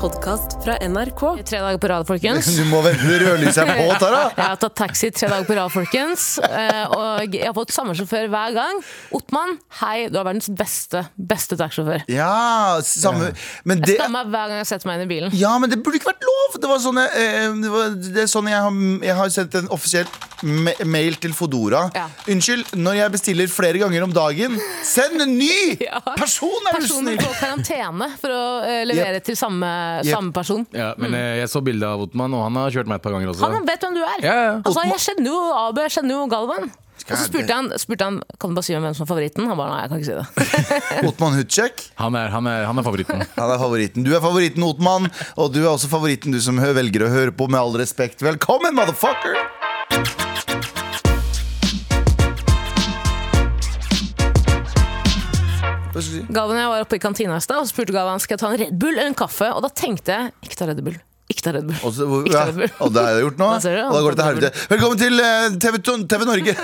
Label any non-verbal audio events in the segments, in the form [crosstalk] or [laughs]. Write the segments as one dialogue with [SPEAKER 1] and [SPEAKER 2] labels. [SPEAKER 1] podkast fra NRK.
[SPEAKER 2] Tre dager på rad, folkens.
[SPEAKER 3] [laughs] Du må
[SPEAKER 2] [laughs]
[SPEAKER 3] vel rødlyset er på, Tara!
[SPEAKER 2] Jeg har tatt taxi tre dager på rad, folkens. eh, Og jeg har fått samme sjåfør hver gang. Ottmann, hei, du er verdens beste, beste taxisjåfør.
[SPEAKER 3] Ja, samme Men det
[SPEAKER 2] Skammer meg hver gang jeg setter meg inn i bilen.
[SPEAKER 3] Ja, men det burde ikke vært lov! Det, var sånne, eh, det, var, det er sånn jeg har, jeg har sendt en offisiell ma mail til Fodora.
[SPEAKER 2] Ja.
[SPEAKER 3] Unnskyld, når jeg bestiller flere ganger om dagen, send en ny
[SPEAKER 2] [laughs] Ja.
[SPEAKER 3] person! Er du
[SPEAKER 2] Personer
[SPEAKER 3] snill!
[SPEAKER 2] på karantene for å eh, levere til samme, samme person.
[SPEAKER 4] Ja, men eh, jeg så bilde av Ottmann, og han har kjørt meg et par ganger også.
[SPEAKER 2] Han vet hvem du er.
[SPEAKER 4] Ja, ja.
[SPEAKER 2] Altså, jeg kjenner jo Abu, jeg kjenner jo Galvan. Og så
[SPEAKER 3] det-
[SPEAKER 2] spurte han, spurte han kan du bare si hvem som er favoritten. Han bare nei, jeg kan ikke si det.
[SPEAKER 3] Otman Hutchek,
[SPEAKER 4] Han, er, han, er, han er [laughs] favoritten.
[SPEAKER 3] han er favoritten. Du er favoritten, Otman. Og du er også favoritten, du som hø- velger å høre på, med all respekt. Velkommen, motherfucker! Hva skal jeg si?
[SPEAKER 2] Galvan og jeg var oppe i kantina i stad og så spurte Galvan skal jeg ta en Red Bull eller en kaffe. Og da tenkte jeg ikke ta Red Bull. Ikke ta Red Bull.
[SPEAKER 3] Og, så,
[SPEAKER 2] Ikke
[SPEAKER 3] ja,
[SPEAKER 2] Red Bull.
[SPEAKER 3] og det har jeg gjort
[SPEAKER 2] [laughs]
[SPEAKER 3] nå.
[SPEAKER 2] Da ser du,
[SPEAKER 3] Og da går det til
[SPEAKER 2] Red Bull.
[SPEAKER 3] helvete. Velkommen til eh, TV, to- TV
[SPEAKER 2] [laughs]
[SPEAKER 3] Norge!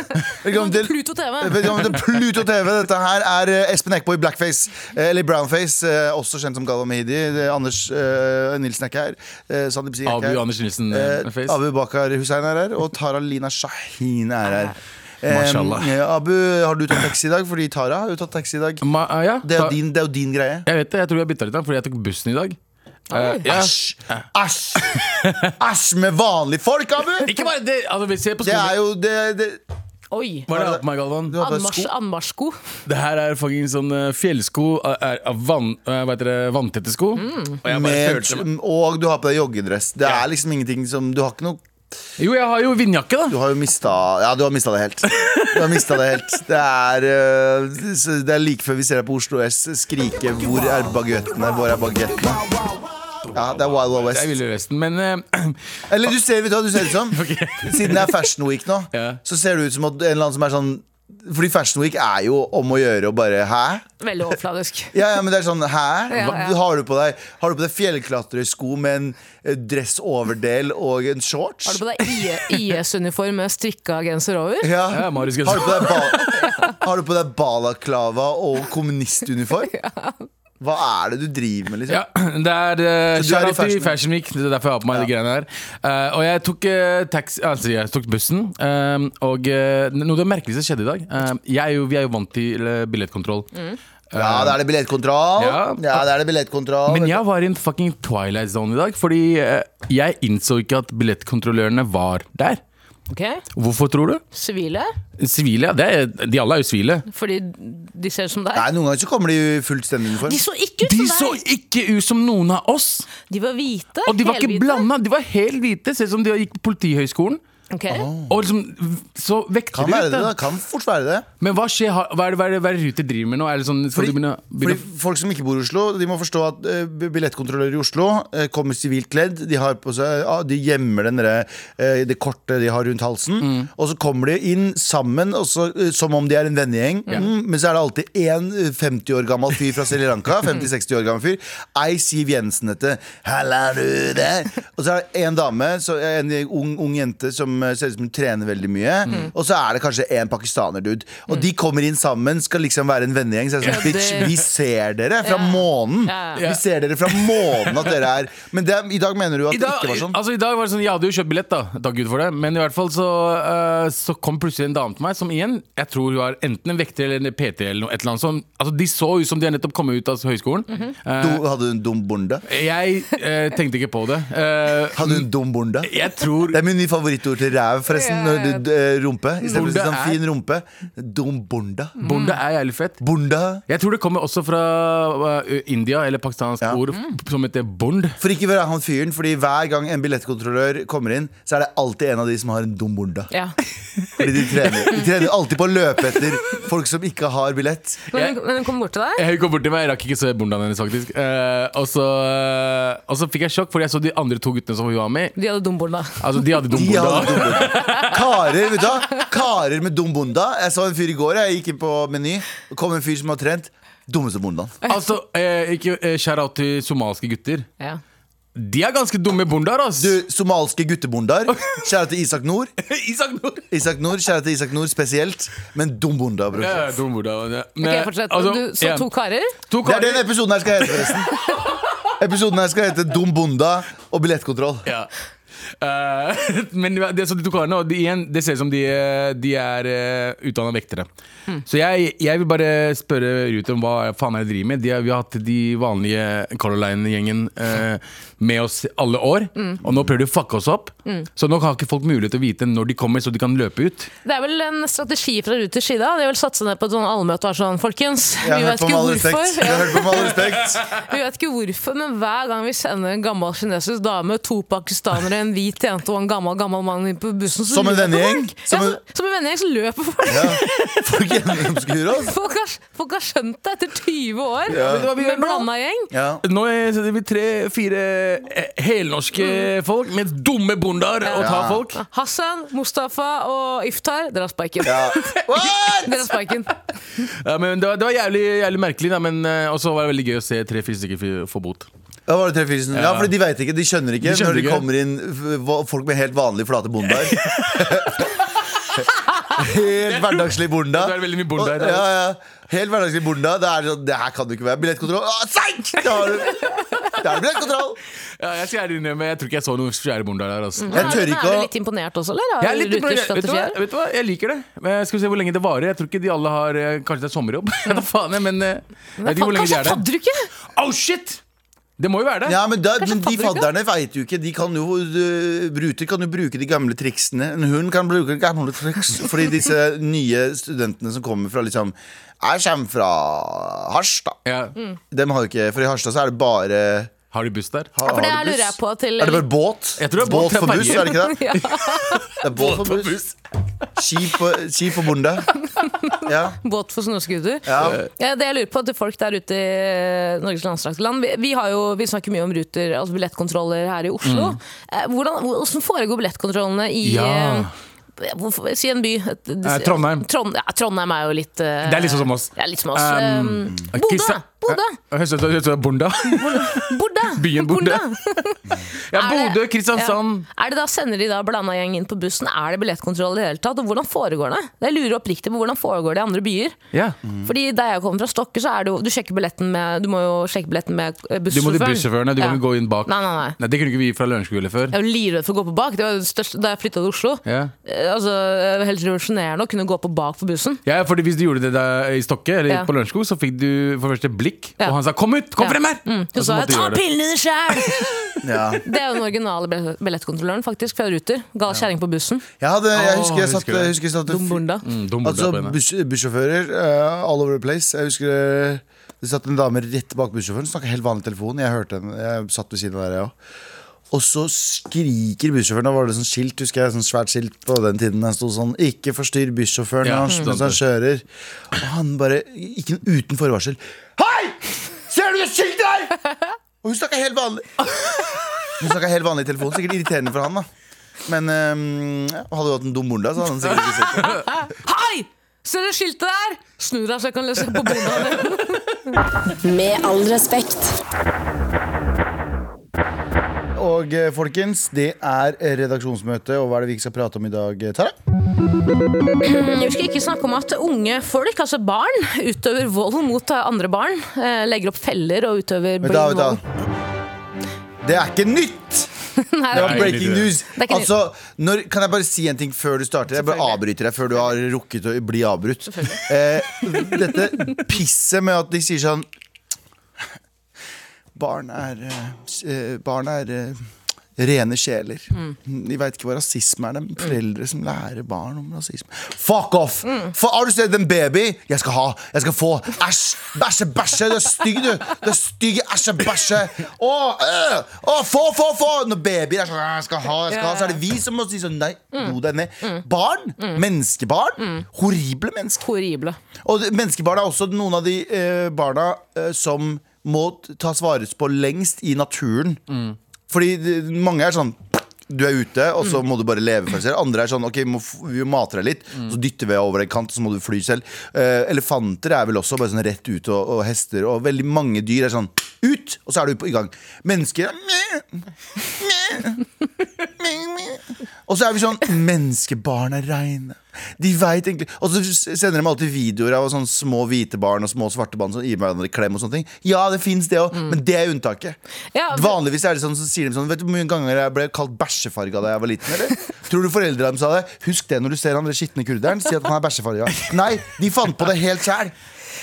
[SPEAKER 3] Velkommen til
[SPEAKER 2] Pluto TV.
[SPEAKER 3] Velkommen til Pluto TV. Dette her er eh, Espen Eckbo i blackface, eh, eller brownface, eh, også kjent som Galva Mehidi. Det er Anders eh, Nilsen er ikke her. Eh, Sandeep Singh er
[SPEAKER 4] Abu
[SPEAKER 3] ikke her.
[SPEAKER 4] Anders Nilsen. eh,
[SPEAKER 3] Eh,
[SPEAKER 4] face.
[SPEAKER 3] Abu Bakar Hussein er her, og Tara Lina Shahin er her. Eh,
[SPEAKER 4] Ah, Mashallah.
[SPEAKER 3] eh, Abu, har du tatt taxi i dag? Fordi Tara har jo tatt taxi i dag.
[SPEAKER 4] Ma, eh, ja,
[SPEAKER 3] Det er
[SPEAKER 4] ta-
[SPEAKER 3] jo din, det er jo din greie.
[SPEAKER 4] Jeg vet det, jeg tror jeg bytta litt, da, fordi jeg tok bussen i dag. Eh, ja.
[SPEAKER 3] Æsj! Æsj! Æsj med vanlige folk, Abu!
[SPEAKER 4] Ikke bare det! Altså, vi ser på
[SPEAKER 3] Det
[SPEAKER 4] skolen.
[SPEAKER 3] er jo det, det
[SPEAKER 2] Oi.
[SPEAKER 4] Hva er det jeg har på meg, Galvan?
[SPEAKER 3] Du har bare
[SPEAKER 2] Anmarsj-
[SPEAKER 3] sko.
[SPEAKER 2] Anmarsjsko.
[SPEAKER 4] Det her er fucking sånn eh, fjellsko eh, er, av vann, eh, hva heter det, vanntette sko. Og jeg bare
[SPEAKER 3] Med,
[SPEAKER 4] følte meg
[SPEAKER 3] og du har på deg joggedress. Det er liksom ingenting som Du har ikke noe
[SPEAKER 4] Jo, jeg har jo vindjakke, da.
[SPEAKER 3] Du har jo mista Ja, du har mista det helt. Du har mista det helt. Det er, øh, så det er like før vi ser deg på Oslo S skrike 'Hvor er baguettene? Hvor er baguettene?' Ja, det er Wild Wild
[SPEAKER 4] Jeg
[SPEAKER 3] West.
[SPEAKER 4] ville resten, men eh, [clears throat]
[SPEAKER 3] Eller du ser, vet du hva du ser
[SPEAKER 4] [laughs]
[SPEAKER 3] ut som? Siden det er Fashion Week nå,
[SPEAKER 4] Ja.
[SPEAKER 3] så ser du ut som at en eller annen som er sånn fordi Fashion Week er jo om å gjøre og bare 'hæ?'
[SPEAKER 2] Veldig
[SPEAKER 4] [laughs]
[SPEAKER 2] overfladisk.
[SPEAKER 3] Ja, ja, men det er sånn, hæ?
[SPEAKER 2] Ja,
[SPEAKER 3] Hva-
[SPEAKER 2] ja.
[SPEAKER 3] Har du på deg, har du på deg fjellklatresko med en eh, dressoverdel og en shorts?
[SPEAKER 2] Har du på deg IS-uniform med strikka genser over?
[SPEAKER 3] Ja.
[SPEAKER 4] Ja, Marius Gønsen.
[SPEAKER 3] Har du på deg, [laughs] ba har du på deg balaklava og kommunistuniform? Hva er det du driver med, liksom?
[SPEAKER 4] Ja, det er uh,
[SPEAKER 3] Så du er i
[SPEAKER 4] Shout out til
[SPEAKER 3] Fashion Week?
[SPEAKER 4] Fashion Week. Det er derfor jeg har på meg de greiene her. Eh, og jeg tok, eh, taxi, altså, jeg tok bussen, eh, og eh, noe av det merkeligste skjedde i dag. Eh, jeg er jo, vi er jo vant til eh, billettkontroll.
[SPEAKER 3] Mm. Ja, da er det billettkontroll. eh, Ja.
[SPEAKER 4] Ja.
[SPEAKER 3] da er det billettkontroll.
[SPEAKER 4] Men jeg var i en fucking twilight zone i dag, fordi eh, jeg innså ikke at billettkontrollørene var der.
[SPEAKER 2] Ok,
[SPEAKER 4] Hvorfor tror du?
[SPEAKER 2] Sivile?
[SPEAKER 4] Sivile? ja, Det er, de alle er jo sivile.
[SPEAKER 2] Fordi de ser ut som deg?
[SPEAKER 3] Nei, Noen ganger så kommer de i fullstendig uniform.
[SPEAKER 2] De så ikke ut
[SPEAKER 4] De så
[SPEAKER 2] som deg!
[SPEAKER 4] ikke ut som noen av oss!
[SPEAKER 2] De var hvite.
[SPEAKER 4] Og de var ikke
[SPEAKER 2] helhvite.
[SPEAKER 4] blanda, de var helt hvite. Ser ut som de gikk på Politihøgskolen.
[SPEAKER 2] Ok.
[SPEAKER 4] Og liksom, så vekter
[SPEAKER 3] Mm. Kan
[SPEAKER 4] de
[SPEAKER 3] være
[SPEAKER 4] ut
[SPEAKER 3] det,
[SPEAKER 4] det.
[SPEAKER 3] da. Kan fort være det.
[SPEAKER 4] Men hva skjer? Har- Hva er det, hva er det, hva er det Ruter driver med nå? Er det sånn, skal
[SPEAKER 3] Fordi,
[SPEAKER 4] du begynne,
[SPEAKER 3] fordi
[SPEAKER 4] begynne
[SPEAKER 3] Folk som ikke bor i Oslo, de må forstå at eh, billettkontrollører i Oslo eh, kommer sivilt kledd. De, har på seg, ja, de gjemmer den derre, eh, det kortet de har rundt halsen. Og så kommer de inn sammen og så, eh, som om de er en vennegjeng. Mm, men så er det alltid én 50 år gammel fyr fra Sri Lanka. 50-60 år gammel fyr. Ei Siv Jensen-ete. Halla, du der. Og så er det en dame, så, eh, en ung, ung jente som eh, ser ut som hun trener veldig mye. Og så er det kanskje en pakistaner-dude. Og de kommer inn sammen, skal liksom være en vennegjeng. Så er det sånn,
[SPEAKER 2] Ja, det-
[SPEAKER 3] bitch, vi ser dere
[SPEAKER 2] Ja.
[SPEAKER 3] fra månen.
[SPEAKER 2] Ja,
[SPEAKER 4] ja.
[SPEAKER 3] Vi ser dere fra månen at dere er Men det, i dag mener du at
[SPEAKER 4] I dag,
[SPEAKER 3] det ikke var sånn?
[SPEAKER 4] altså, I dag var det sånn, Jeg hadde jo kjøpt billett, da. Takk Gud for det. Men i hvert fall så, eh, så kom plutselig en dame til meg som igjen Jeg tror hun var enten en vekter eller en PT. eller noe, et eller annet sånt. Altså, De så ut som de har nettopp kommet ut av høyskolen. Eh,
[SPEAKER 3] Du, hadde du en dum bonde?
[SPEAKER 4] jeg eh, tenkte ikke på det. Eh,
[SPEAKER 3] Hadde du en dum bonde?
[SPEAKER 4] jeg tror
[SPEAKER 3] Det er min nye favorittord til ræv, forresten.
[SPEAKER 2] Ja, ja, ja.
[SPEAKER 3] Når du, eh, rumpe. Istedenfor
[SPEAKER 4] Bonde
[SPEAKER 3] sånn
[SPEAKER 4] er-
[SPEAKER 3] fin rumpe. Dum bonde.
[SPEAKER 4] Bonde er jævlig fett.
[SPEAKER 3] Bonde.
[SPEAKER 4] Jeg tror det kommer også fra eh, India, eller pakistansk
[SPEAKER 3] Ja.
[SPEAKER 4] ord, f- som heter bond.
[SPEAKER 3] For ikke være han fyren, fordi hver gang en billettkontrollør kommer inn, så er det alltid en av de som har en dum bonde.
[SPEAKER 2] Ja.
[SPEAKER 3] Fordi de trener, de trener alltid på å løpe etter folk som ikke har billett.
[SPEAKER 2] Men, hun- men hun kom bort til deg?
[SPEAKER 4] Jeg kom bort til meg, jeg rakk ikke se bondaen hennes, faktisk. Eh, og, så, eh, og så fikk jeg sjokk, fordi jeg så de andre to guttene som hun var med.
[SPEAKER 2] De hadde dumbord, da.
[SPEAKER 4] Altså, de hadde dum
[SPEAKER 3] De hadde
[SPEAKER 4] bonda.
[SPEAKER 3] dum bonda. Karer, vet du hva? Karer med dum bonda. Jeg så en fyr i går, jeg gikk inn på Meny. Det kom en fyr som har trent. Dummeste bondaen.
[SPEAKER 4] [laughs] Altså, eh, ikke eh, shout out til somaliske gutter.
[SPEAKER 2] Ja.
[SPEAKER 4] De er ganske dumme bondaer, ass!
[SPEAKER 3] Du, Somalske guttebondaer. Kjære til Isak Nord.
[SPEAKER 4] [laughs] Isak Nord!
[SPEAKER 3] Isak Nord, Kjære til Isak Nord spesielt, men dum bonda, bror.
[SPEAKER 4] Ja, ja, dum bonda. men-
[SPEAKER 2] Ok, fortsett.
[SPEAKER 4] altså,
[SPEAKER 2] du så
[SPEAKER 4] ja.
[SPEAKER 2] to karer?
[SPEAKER 4] To
[SPEAKER 3] Det er
[SPEAKER 4] karer.
[SPEAKER 3] den episoden her skal hete, forresten. Episoden her skal hete Dum bonda og billettkontroll.
[SPEAKER 4] Ja. Eh, [laughs] men det, det, så de to karene og de, igjen, det ser ut som de, eh, de er uh, utdanna vektere. Så jeg, jeg vil bare spørre Ruth om hva faen er det de driver med. De, har- vi har hatt de vanlige Color Line-gjengen eh, med oss alle år. Og nå prøver de å fucke oss opp. Så nå har ikke folk mulighet til å vite når de kommer, så de kan løpe ut.
[SPEAKER 2] Det er vel en strategi fra Ruters side. da. Det er vel satse ned på et sånn allmøte og være sånn, folkens, vi
[SPEAKER 3] Jeg har
[SPEAKER 2] vet
[SPEAKER 3] hørt på
[SPEAKER 2] ikke
[SPEAKER 3] med all
[SPEAKER 2] hvorfor.
[SPEAKER 3] respekt. Jeg har hørt på med all respekt.
[SPEAKER 2] Vi vet ikke hvorfor, men hver gang vi sender en gammel kinesisk dame, to pakistanere, en hvit jente og en gammel gammel mann inn på bussen så
[SPEAKER 3] Som en
[SPEAKER 2] løper
[SPEAKER 3] vennegjeng?
[SPEAKER 2] folk.
[SPEAKER 3] Som
[SPEAKER 2] Ja,
[SPEAKER 3] en-
[SPEAKER 2] Som, som en vennegjeng så løper folk.
[SPEAKER 3] Folk gjennomskuer oss.
[SPEAKER 2] Folk, har, folk har skjønt det etter 20 år
[SPEAKER 3] Ja. Vet
[SPEAKER 4] du hva vi gjør
[SPEAKER 2] med
[SPEAKER 4] nå?
[SPEAKER 2] blanda gjeng.
[SPEAKER 4] [laughs]
[SPEAKER 3] Ja.
[SPEAKER 4] Nå sitter vi tre-fire eh, helnorske folk med dumme bondaer og tar
[SPEAKER 3] Ja.
[SPEAKER 4] folk.
[SPEAKER 2] Ah. Hassan, Mustafa og Iftar, dere har sparken.
[SPEAKER 3] ja. What?
[SPEAKER 2] Dere har
[SPEAKER 3] [laughs]
[SPEAKER 2] sparken.
[SPEAKER 4] Ja, men det var, det var jævlig, jævlig merkelig, da, men eh, også var det veldig gøy å se tre-fire stykker f- få bot.
[SPEAKER 3] Ja, var det tre, fire, ja, fordi de vet ikke, de skjønner ikke
[SPEAKER 4] De skjønner
[SPEAKER 3] når det
[SPEAKER 4] ikke.
[SPEAKER 3] kommer inn f- hva- folk med helt vanlige flate
[SPEAKER 4] [laughs]
[SPEAKER 3] bondaer. helt hverdagslig bonda.
[SPEAKER 4] Det er veldig mye bonda i dag.
[SPEAKER 3] Ja, ja. Helt hverdagslig bonda. Det er sånn, det her kan det ikke være. Billettkontroll. Ah, Seik! Da har du- Da er det billettkontroll!
[SPEAKER 4] Ja, jeg skal ærlig innrømme, jeg tror ikke jeg så noen svære bondaer der. Altså.
[SPEAKER 3] Jeg tør
[SPEAKER 2] Men
[SPEAKER 3] ikke
[SPEAKER 2] Er du
[SPEAKER 3] å
[SPEAKER 2] litt imponert også, eller? Av
[SPEAKER 4] Jeg er litt
[SPEAKER 2] Ruters
[SPEAKER 4] imponert. vet, du hva?
[SPEAKER 2] strategier?
[SPEAKER 4] vet du hva, jeg liker det. Men jeg skal vi se hvor lenge det varer. Jeg tror ikke de alle har eh, Kanskje det er sommerjobb. Ja, da faen jeg, men eh, jeg vet ikke hvor lenge de
[SPEAKER 2] Kanskje
[SPEAKER 4] er der.
[SPEAKER 2] fadder du ikke?
[SPEAKER 4] Au, shit! Det må jo være det.
[SPEAKER 3] ja, men, da,
[SPEAKER 2] Kanskje
[SPEAKER 3] men de
[SPEAKER 2] fadderuka?
[SPEAKER 3] fadderne veit jo ikke. De kan jo, øh, Ruter kan jo bruke de gamle triksene. En hund kan bruke de gamle triks. Fordi disse nye studentene som kommer fra liksom Jeg kommer fra Harstad.
[SPEAKER 4] Ja.
[SPEAKER 3] Dem har jo ikke, for i Harstad så er det bare
[SPEAKER 4] Har de buss der?
[SPEAKER 3] har,
[SPEAKER 2] For det
[SPEAKER 3] har
[SPEAKER 2] her
[SPEAKER 3] du buss?
[SPEAKER 2] lurer jeg på til
[SPEAKER 3] Er det bare båt?
[SPEAKER 4] Jeg tror det er båt
[SPEAKER 3] båt
[SPEAKER 4] fra
[SPEAKER 3] for buss,
[SPEAKER 4] Bergen.
[SPEAKER 3] er det ikke det?
[SPEAKER 2] [laughs] Ja,
[SPEAKER 3] Det er båt for buss Skip og, skip og bonde
[SPEAKER 2] [laughs]
[SPEAKER 3] Ja,
[SPEAKER 2] Båt for snøscooter.
[SPEAKER 3] ja.
[SPEAKER 2] Ja, det jeg lurer på til folk der ute i eh, Norges langstrakte land vi, vi, har jo, vi snakker mye om ruter, altså billettkontroller her i Oslo. Eh, Hvordan, hvordan foregår billettkontrollene i
[SPEAKER 4] Mm. Ja.
[SPEAKER 2] eh, hvorfor, Si en by. Et-
[SPEAKER 4] Eh, Trondheim.
[SPEAKER 2] Trond, ja, Trondheim er jo litt eh,
[SPEAKER 4] Det er litt sånn som oss.
[SPEAKER 2] Ja, litt som oss.
[SPEAKER 4] Um,
[SPEAKER 2] Eh, Bodø!
[SPEAKER 4] Kisa-
[SPEAKER 2] Bodø!
[SPEAKER 4] Eh, Høres ut som- høres ut som Bonda.
[SPEAKER 2] Bodø!
[SPEAKER 4] Byen Bodø. Ja, Sånn.
[SPEAKER 2] Er det-
[SPEAKER 4] Bodø, Kristiansand.
[SPEAKER 2] Ja. Er det da Sender de da blanda gjeng inn på bussen? Er det billettkontroll i det hele tatt? Og hvordan foregår det? Jeg lurer oppriktig på hvordan foregår det i andre byer.
[SPEAKER 4] Ja.
[SPEAKER 2] Fordi der jeg kommer fra Stokke, så er det jo Du, sjekker billetten med, du må jo sjekke billetten med eh,
[SPEAKER 4] Du må
[SPEAKER 2] bussjåføren.
[SPEAKER 4] til bussjåførene. Du kan
[SPEAKER 2] Ja.
[SPEAKER 4] ikke gå inn bak.
[SPEAKER 2] Nei, nei, nei.
[SPEAKER 4] Nei, Det kunne ikke vi fra Lørenskogullet før.
[SPEAKER 2] Jeg er jo livredd for å gå på bak. Det var jo det største da jeg flytta til Oslo.
[SPEAKER 4] Ja.
[SPEAKER 2] Eh, Altså, det var Helt revolusjonerende å kunne gå på bak på bussen.
[SPEAKER 4] Ja, ja, fordi Hvis du gjorde det der i Stokke, eller
[SPEAKER 2] Ja.
[SPEAKER 4] på Lørenskog, så fikk du for det første blikk.
[SPEAKER 2] Ja.
[SPEAKER 4] Og han sa 'kom ut! Kom
[SPEAKER 2] Ja.
[SPEAKER 4] frem her!'
[SPEAKER 2] Mm. Hun
[SPEAKER 4] Og så
[SPEAKER 2] sa
[SPEAKER 4] måtte du
[SPEAKER 2] 'ta
[SPEAKER 4] gjøre det.
[SPEAKER 2] pillene dine sjæl'! [laughs]
[SPEAKER 3] ja.
[SPEAKER 2] Det er jo den originale billett- billettkontrolløren, faktisk, fra Ruter. Gal kjerring på bussen.
[SPEAKER 3] Jeg, hadde, jeg
[SPEAKER 4] Åh,
[SPEAKER 3] husker jeg satt,
[SPEAKER 4] husker det.
[SPEAKER 3] jeg husker jeg satt
[SPEAKER 2] Dum bunda.
[SPEAKER 4] Mm, dum
[SPEAKER 3] Altså
[SPEAKER 4] burde jeg på henne.
[SPEAKER 3] buss, bussjåfører eh, all over the place Jeg husker eh, det satt en dame rett bak bussjåføren Snakket helt vanlig telefon Jeg hørte henne, jeg satt ved siden av der jeg også og så skriker bussjåføren Da var det sånn skilt, husker jeg, sånn svært skilt på den tiden Den stod sånn, ikke forstyr bussjåføren
[SPEAKER 4] Ja,
[SPEAKER 3] når han- Mens han kjører Og han bare, ikke uten forvarsel Hei! Ser du det skiltet her? Og hun snakket helt vanlig Hun snakket helt vanlig i telefonen Sikkert irriterende for han da men eh, hadde du hatt en dum bonda Så hadde han sikkert ikke sett det
[SPEAKER 2] Hei! Ser dere skiltet der? Snu deg, så jeg kan lese på
[SPEAKER 4] [laughs]
[SPEAKER 2] bordet.
[SPEAKER 1] Med all respekt.
[SPEAKER 3] Og eh, folkens, det er redaksjonsmøte, og hva er det vi ikke skal prate om i dag, eh, Tara?
[SPEAKER 2] Vi skal ikke snakke om at unge folk, altså barn, utøver vold mot andre barn. eh, Legger opp feller og utøver
[SPEAKER 3] Vet du, hva,
[SPEAKER 2] blind vold.
[SPEAKER 3] vet du. hva? Det er ikke nytt!
[SPEAKER 2] Nei,
[SPEAKER 3] Det
[SPEAKER 2] det
[SPEAKER 3] var
[SPEAKER 4] Nei,
[SPEAKER 3] breaking
[SPEAKER 4] det er ikke
[SPEAKER 3] news.
[SPEAKER 2] er ikke
[SPEAKER 3] Altså, når, kan jeg bare si en ting før du starter? Jeg bare
[SPEAKER 2] Selvfølgelig.
[SPEAKER 3] avbryter deg før du har rukket å bli avbrutt. Eh, dette pisset med at de sier sånn Barn er, eh, s- eh, barn er eh, rene sjeler. De veit ikke hva rasisme er. Det er foreldre som lærer barn om rasisme. Fuck off! For, har du sett en baby? Jeg skal ha, jeg skal få. Æsj! Bæsje, bæsje! Du er stygg, du! Du er stygg, æsje, bæsje! Å, øh, å, få, få, få! Når babyer er sånn «Æ, Jeg skal ha, jeg skal ha. Så er det vi som må si sånn nei, ro deg ned. Barn! Menneskebarn! Horrible mennesker.
[SPEAKER 2] Horrible.
[SPEAKER 3] Og det- menneskebarn er også noen av de eh, barna eh, som må t- tas vares på lengst i naturen. Fordi det- mange er sånn du er ute, og så må du bare leve for deg selv. Andre er sånn OK, vi må, f- vi må mate deg litt. Så dytter vi deg over en kant, og så må du fly selv. Eh, elefanter er vel også bare sånn rett ut, og, og hester og veldig mange dyr er sånn ut, og så er du på- i gang. Mennesker er mæ, mæ, mæ, mæ. Og så er vi sånn Menneskebarn er reine. De vet egentlig Og så sender de alltid videoer av sånne små hvite barn og små svarte barn som gir hverandre klem og sånne ting. Ja, det fins det òg, men det er unntaket.
[SPEAKER 2] Ja, men-
[SPEAKER 3] Vanligvis er det sånn, så sier de sånn Vet du hvor mange ganger jeg ble kalt bæsjefarga da jeg var liten? eller? Tror du foreldra dem sa det? Husk det når du ser han der skitne kurderen. Si at han er bæsjefarga. Nei, de fant på det helt sjæl.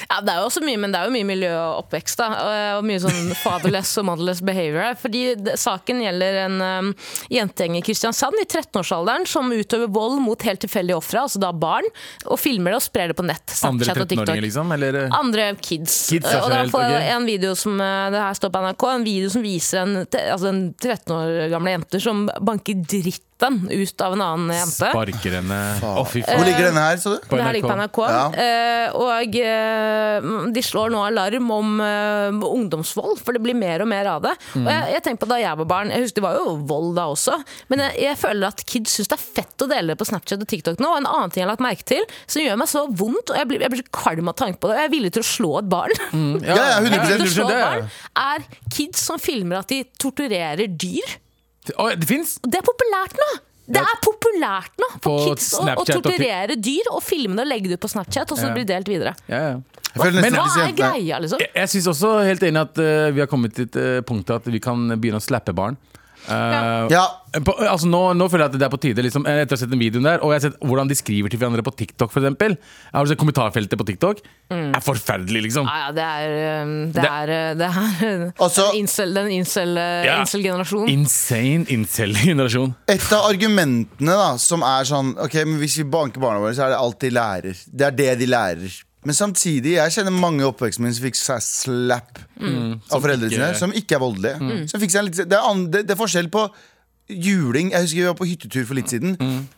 [SPEAKER 2] Ja, det er jo også mye, men det er jo mye miljø og oppvekst. da og- Og mye sånn fatherless og motherless behavior. her. Fordi det- saken gjelder en um, jentegjeng i Kristiansand i 13-årsalderen som utøver vold mot helt tilfeldige ofre, altså da barn, og filmer det og sprer det på nett.
[SPEAKER 4] Andre
[SPEAKER 2] Snapchat og TikTok.
[SPEAKER 4] 13-åringer, liksom? Eller?
[SPEAKER 2] Andre kids.
[SPEAKER 4] Kids er
[SPEAKER 2] og det er
[SPEAKER 4] generelt,
[SPEAKER 2] iallfall
[SPEAKER 4] ok.
[SPEAKER 2] en video som eh, det her står på NRK, en video som viser en, te- altså en 13 år gamle jente som banker dritten ut av en annen jente.
[SPEAKER 4] Sparker henne Å, fy
[SPEAKER 3] Hvor
[SPEAKER 4] faen.
[SPEAKER 3] ligger denne her, så du?
[SPEAKER 4] På
[SPEAKER 2] Det her ligger på
[SPEAKER 4] NRK.
[SPEAKER 2] NRK. Eh, og eh, de slår nå alarm om eh, ungdomsvold, for det blir mer og mer av det. Og jeg, jeg tenker på Da jeg var barn, jeg husker det var jo vold da også, men jeg, jeg føler at kids syns det er fett å dele det på Snapchat og TikTok nå. Og en annen ting jeg har lagt merke til, som gjør meg så vondt, og jeg blir, jeg blir så kvalm av tanken på det, og jeg er villig til å slå et barn. [laughs]
[SPEAKER 3] Ja, ja, 100%
[SPEAKER 2] Jeg er villig til å slå
[SPEAKER 4] Mm. det
[SPEAKER 2] et
[SPEAKER 4] er-
[SPEAKER 2] barn er kids som filmer at de torturerer dyr.
[SPEAKER 4] Å, det fins!
[SPEAKER 2] Og Det er populært nå! Det er populært nå for
[SPEAKER 4] På
[SPEAKER 2] kids å, å
[SPEAKER 4] Snapchat og ti-
[SPEAKER 2] torturere dyr og filme det og legge det ut på Snapchat. Og så
[SPEAKER 4] Ja.
[SPEAKER 2] blir det delt videre.
[SPEAKER 4] Ja, ja.
[SPEAKER 3] Jeg føler nesten
[SPEAKER 2] Hva
[SPEAKER 3] at disse
[SPEAKER 2] er
[SPEAKER 3] jentene-
[SPEAKER 2] greia, liksom?
[SPEAKER 4] Jeg, jeg syns også helt enig at eh, vi har kommet til et eh, punkt at vi kan begynne å slappe barn. Eh,
[SPEAKER 3] Ja.
[SPEAKER 4] på, altså nå, nå føler jeg at det er på tide. Liksom, eh, etter å ha sett den videoen der Og jeg har sett hvordan de skriver til hverandre på TikTok. For eksempel. jeg har sett kommentarfeltet på TikTok
[SPEAKER 2] Mm.
[SPEAKER 4] er forferdelig, liksom.
[SPEAKER 2] Ja, ja, det er um, Det
[SPEAKER 4] Det-
[SPEAKER 2] er, uh, det er uh,
[SPEAKER 3] Altså-
[SPEAKER 2] den incel- den incel-generasjonen.
[SPEAKER 4] Ja.
[SPEAKER 2] Incel generasjonen
[SPEAKER 4] Insane incel-generasjon.
[SPEAKER 3] Et av argumentene da som er sånn Ok, men Hvis vi banker barna våre, så er det alt de lærer. Det er det de lærer. Men samtidig, jeg kjenner mange i oppveksten min som fikk seg slap av foreldrene sine.
[SPEAKER 4] ikke-
[SPEAKER 3] Som ikke er voldelige. Som fikk seg litt, det, er an, det, det er forskjell på juling. Jeg husker vi var på hyttetur for litt siden.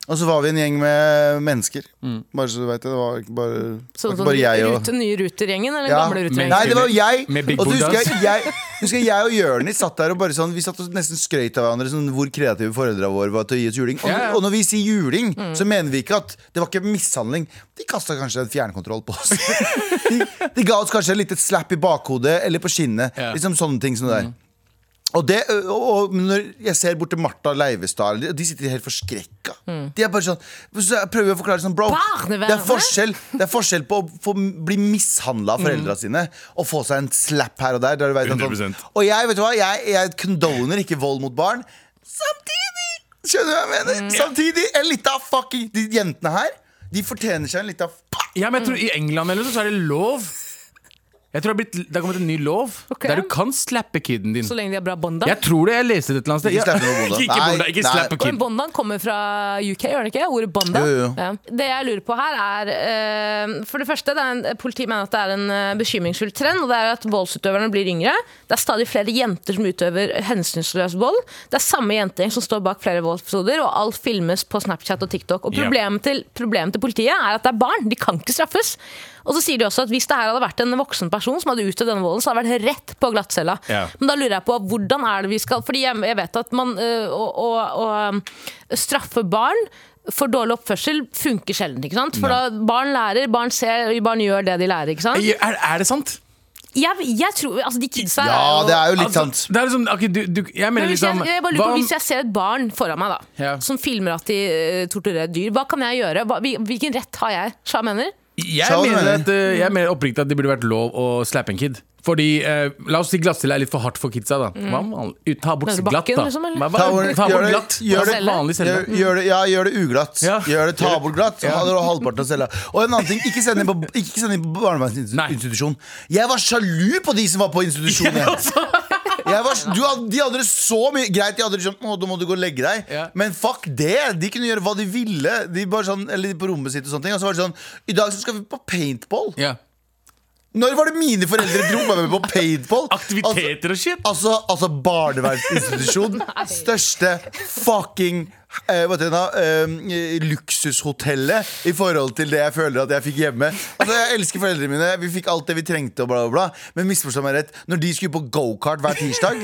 [SPEAKER 3] Og så var vi en gjeng med mennesker. Bare så du vet det. Det var ikke bare, det var
[SPEAKER 2] Sånn
[SPEAKER 3] ikke
[SPEAKER 2] som
[SPEAKER 3] bare jeg og
[SPEAKER 2] rute, nye rutergjengen eller den
[SPEAKER 3] ja.
[SPEAKER 2] gamle
[SPEAKER 4] men-
[SPEAKER 2] rutergjengen?
[SPEAKER 3] Nei, det var jeg.
[SPEAKER 4] Med Big
[SPEAKER 3] Og så
[SPEAKER 4] Buddhas.
[SPEAKER 3] husker jeg, jeg, husker jeg og Jørnis satt der og bare sånn Vi satt og nesten skrøt av hverandre sånn, hvor kreative foreldra våre var til å gi oss juling. Og,
[SPEAKER 4] Ja, ja.
[SPEAKER 3] og når vi sier juling,
[SPEAKER 2] Mm.
[SPEAKER 3] så mener vi ikke at det var ikke mishandling. De kasta kanskje en fjernkontroll på oss. [laughs] de, de ga oss kanskje et lite slap i bakhodet eller på skinnet.
[SPEAKER 4] Ja. Mm.
[SPEAKER 3] Liksom sånne ting som det der. Og, det, og, og når jeg ser bort til Martha Leivestad, de- de sitter helt forskrekka.
[SPEAKER 2] Mm.
[SPEAKER 3] De er bare sånn Så jeg prøver å forklare sånn, bro.
[SPEAKER 2] Barnevernet?
[SPEAKER 3] Det er forskjell, det er forskjell på å få, bli mishandla av foreldra sine og få seg en slap her og der. der du vet at sånn,
[SPEAKER 4] 100%.
[SPEAKER 3] og jeg vet du hva, jeg, jeg condoner ikke vold mot barn. Samtidig Skjønner du hva jeg mener? Samtidig, en lita fucking De jentene her, de fortjener seg en lita fuck.
[SPEAKER 4] Ja, men jeg tror I England eller noe sånt, så er det lov. Jeg tror det, har blitt, det har kommet en ny lov
[SPEAKER 2] Ok.
[SPEAKER 4] der du kan slappe kiden din.
[SPEAKER 2] Så lenge de har bra bånd.
[SPEAKER 4] Jeg tror det, jeg leste det et eller annet sted.
[SPEAKER 3] Ikke
[SPEAKER 4] Ja.
[SPEAKER 3] slappe noe bonda.
[SPEAKER 4] [laughs] Ikke
[SPEAKER 3] Nei,
[SPEAKER 4] bonda, ikke
[SPEAKER 3] nei.
[SPEAKER 4] slappe
[SPEAKER 2] Men
[SPEAKER 4] kid.
[SPEAKER 2] Bondan kommer fra UK, gjør den ikke? Ordet Bondan.
[SPEAKER 3] Jo, jo, jo.
[SPEAKER 2] Ja. Det jeg lurer på her er eh, For det første, det er en, politiet mener at det er en eh, bekymringsfull trend. Og det er at voldsutøverne blir yngre. Det er stadig flere jenter som utøver hensynsløs vold. Det er samme jentegjeng som står bak flere voldsepisoder, og alt filmes på Snapchat og TikTok. Og
[SPEAKER 4] Ja.
[SPEAKER 2] problemet, til, problemet til politiet er at det er barn. De kan ikke straffes. Og så sier de også at Hvis det her hadde vært en voksen person som hadde utøvd denne volden, så hadde det vært rett på glattcella.
[SPEAKER 4] Ja.
[SPEAKER 2] Men da lurer jeg på hvordan er det vi skal Fordi jeg, jeg vet at man øh, å, å, å øhm, straffe barn for dårlig oppførsel funker sjelden. ikke sant? For
[SPEAKER 4] Nei.
[SPEAKER 2] da barn lærer, barn ser, barn gjør det de lærer. ikke sant?
[SPEAKER 4] Er, er det sant?
[SPEAKER 2] Jeg, jeg tror, altså De kidsa
[SPEAKER 3] Ja, det er jo litt sånn
[SPEAKER 4] Altså,
[SPEAKER 3] sant.
[SPEAKER 4] det er liksom, ok, du, du, jeg mener
[SPEAKER 2] men hvis jeg,
[SPEAKER 4] liksom
[SPEAKER 2] jeg bare
[SPEAKER 4] hva
[SPEAKER 2] lurer på,
[SPEAKER 4] om-
[SPEAKER 2] hvis jeg ser et barn foran meg da
[SPEAKER 4] Ja.
[SPEAKER 2] som filmer at de øh, torturerer et dyr, hva kan jeg gjøre? Hva, hvil- hvilken rett har jeg? Sja mener?
[SPEAKER 4] Jeg
[SPEAKER 3] Sa du
[SPEAKER 4] mener,
[SPEAKER 3] det?
[SPEAKER 4] at, eh, jeg mener oppriktig at det burde vært lov å slappe en kid. Fordi, eh, La oss si glattcelle er litt for hardt for kidsa. da Hva om all- ut- Ta bort
[SPEAKER 2] Nede i
[SPEAKER 4] glatt,
[SPEAKER 2] Mm. bakken,
[SPEAKER 4] da.
[SPEAKER 2] liksom, eller?
[SPEAKER 4] Hva- hva-
[SPEAKER 3] Ta bort-
[SPEAKER 4] ta
[SPEAKER 3] gjør
[SPEAKER 4] bort
[SPEAKER 3] det-
[SPEAKER 4] glatt.
[SPEAKER 3] gjør
[SPEAKER 2] det-
[SPEAKER 4] vanlig
[SPEAKER 3] Gjør,
[SPEAKER 4] celle.
[SPEAKER 3] gjør det, ja, gjør det uglatt.
[SPEAKER 4] Ja.
[SPEAKER 3] Gjør det ta bort glatt. Så
[SPEAKER 4] Ja.
[SPEAKER 3] hadde du halvparten av cella. Og en annen ting, ikke send dem på, ikke send dem på barnevernsinstitusjon. Jeg var sjalu på de som var på institusjon. Jeg.
[SPEAKER 4] altså.
[SPEAKER 3] Jeg var, du, had- de hadde det så mye Greit, de hadde det sånn Å, da må du gå og legge deg
[SPEAKER 4] Ja.
[SPEAKER 3] Men fuck det, de kunne gjøre hva de ville De bare sånn, eller på rommet sitt og sånne ting Og så var det sånn, i dag så skal vi på paintball
[SPEAKER 4] Ja.
[SPEAKER 3] Når var det mine foreldre dro meg med på paintball?
[SPEAKER 4] Aktiviteter og shit!
[SPEAKER 3] Altså, altså
[SPEAKER 2] [laughs]
[SPEAKER 3] barnevernsinstitusjon Største fucking eh, hva heter det da, eh, luksushotellet i forhold til det jeg føler at jeg fikk hjemme. Altså, Jeg elsker foreldrene mine, vi fikk
[SPEAKER 2] [laughs]
[SPEAKER 3] alt det vi trengte, og bla, bla, bla. Men misforstå meg rett, når de skulle på gokart hver tirsdag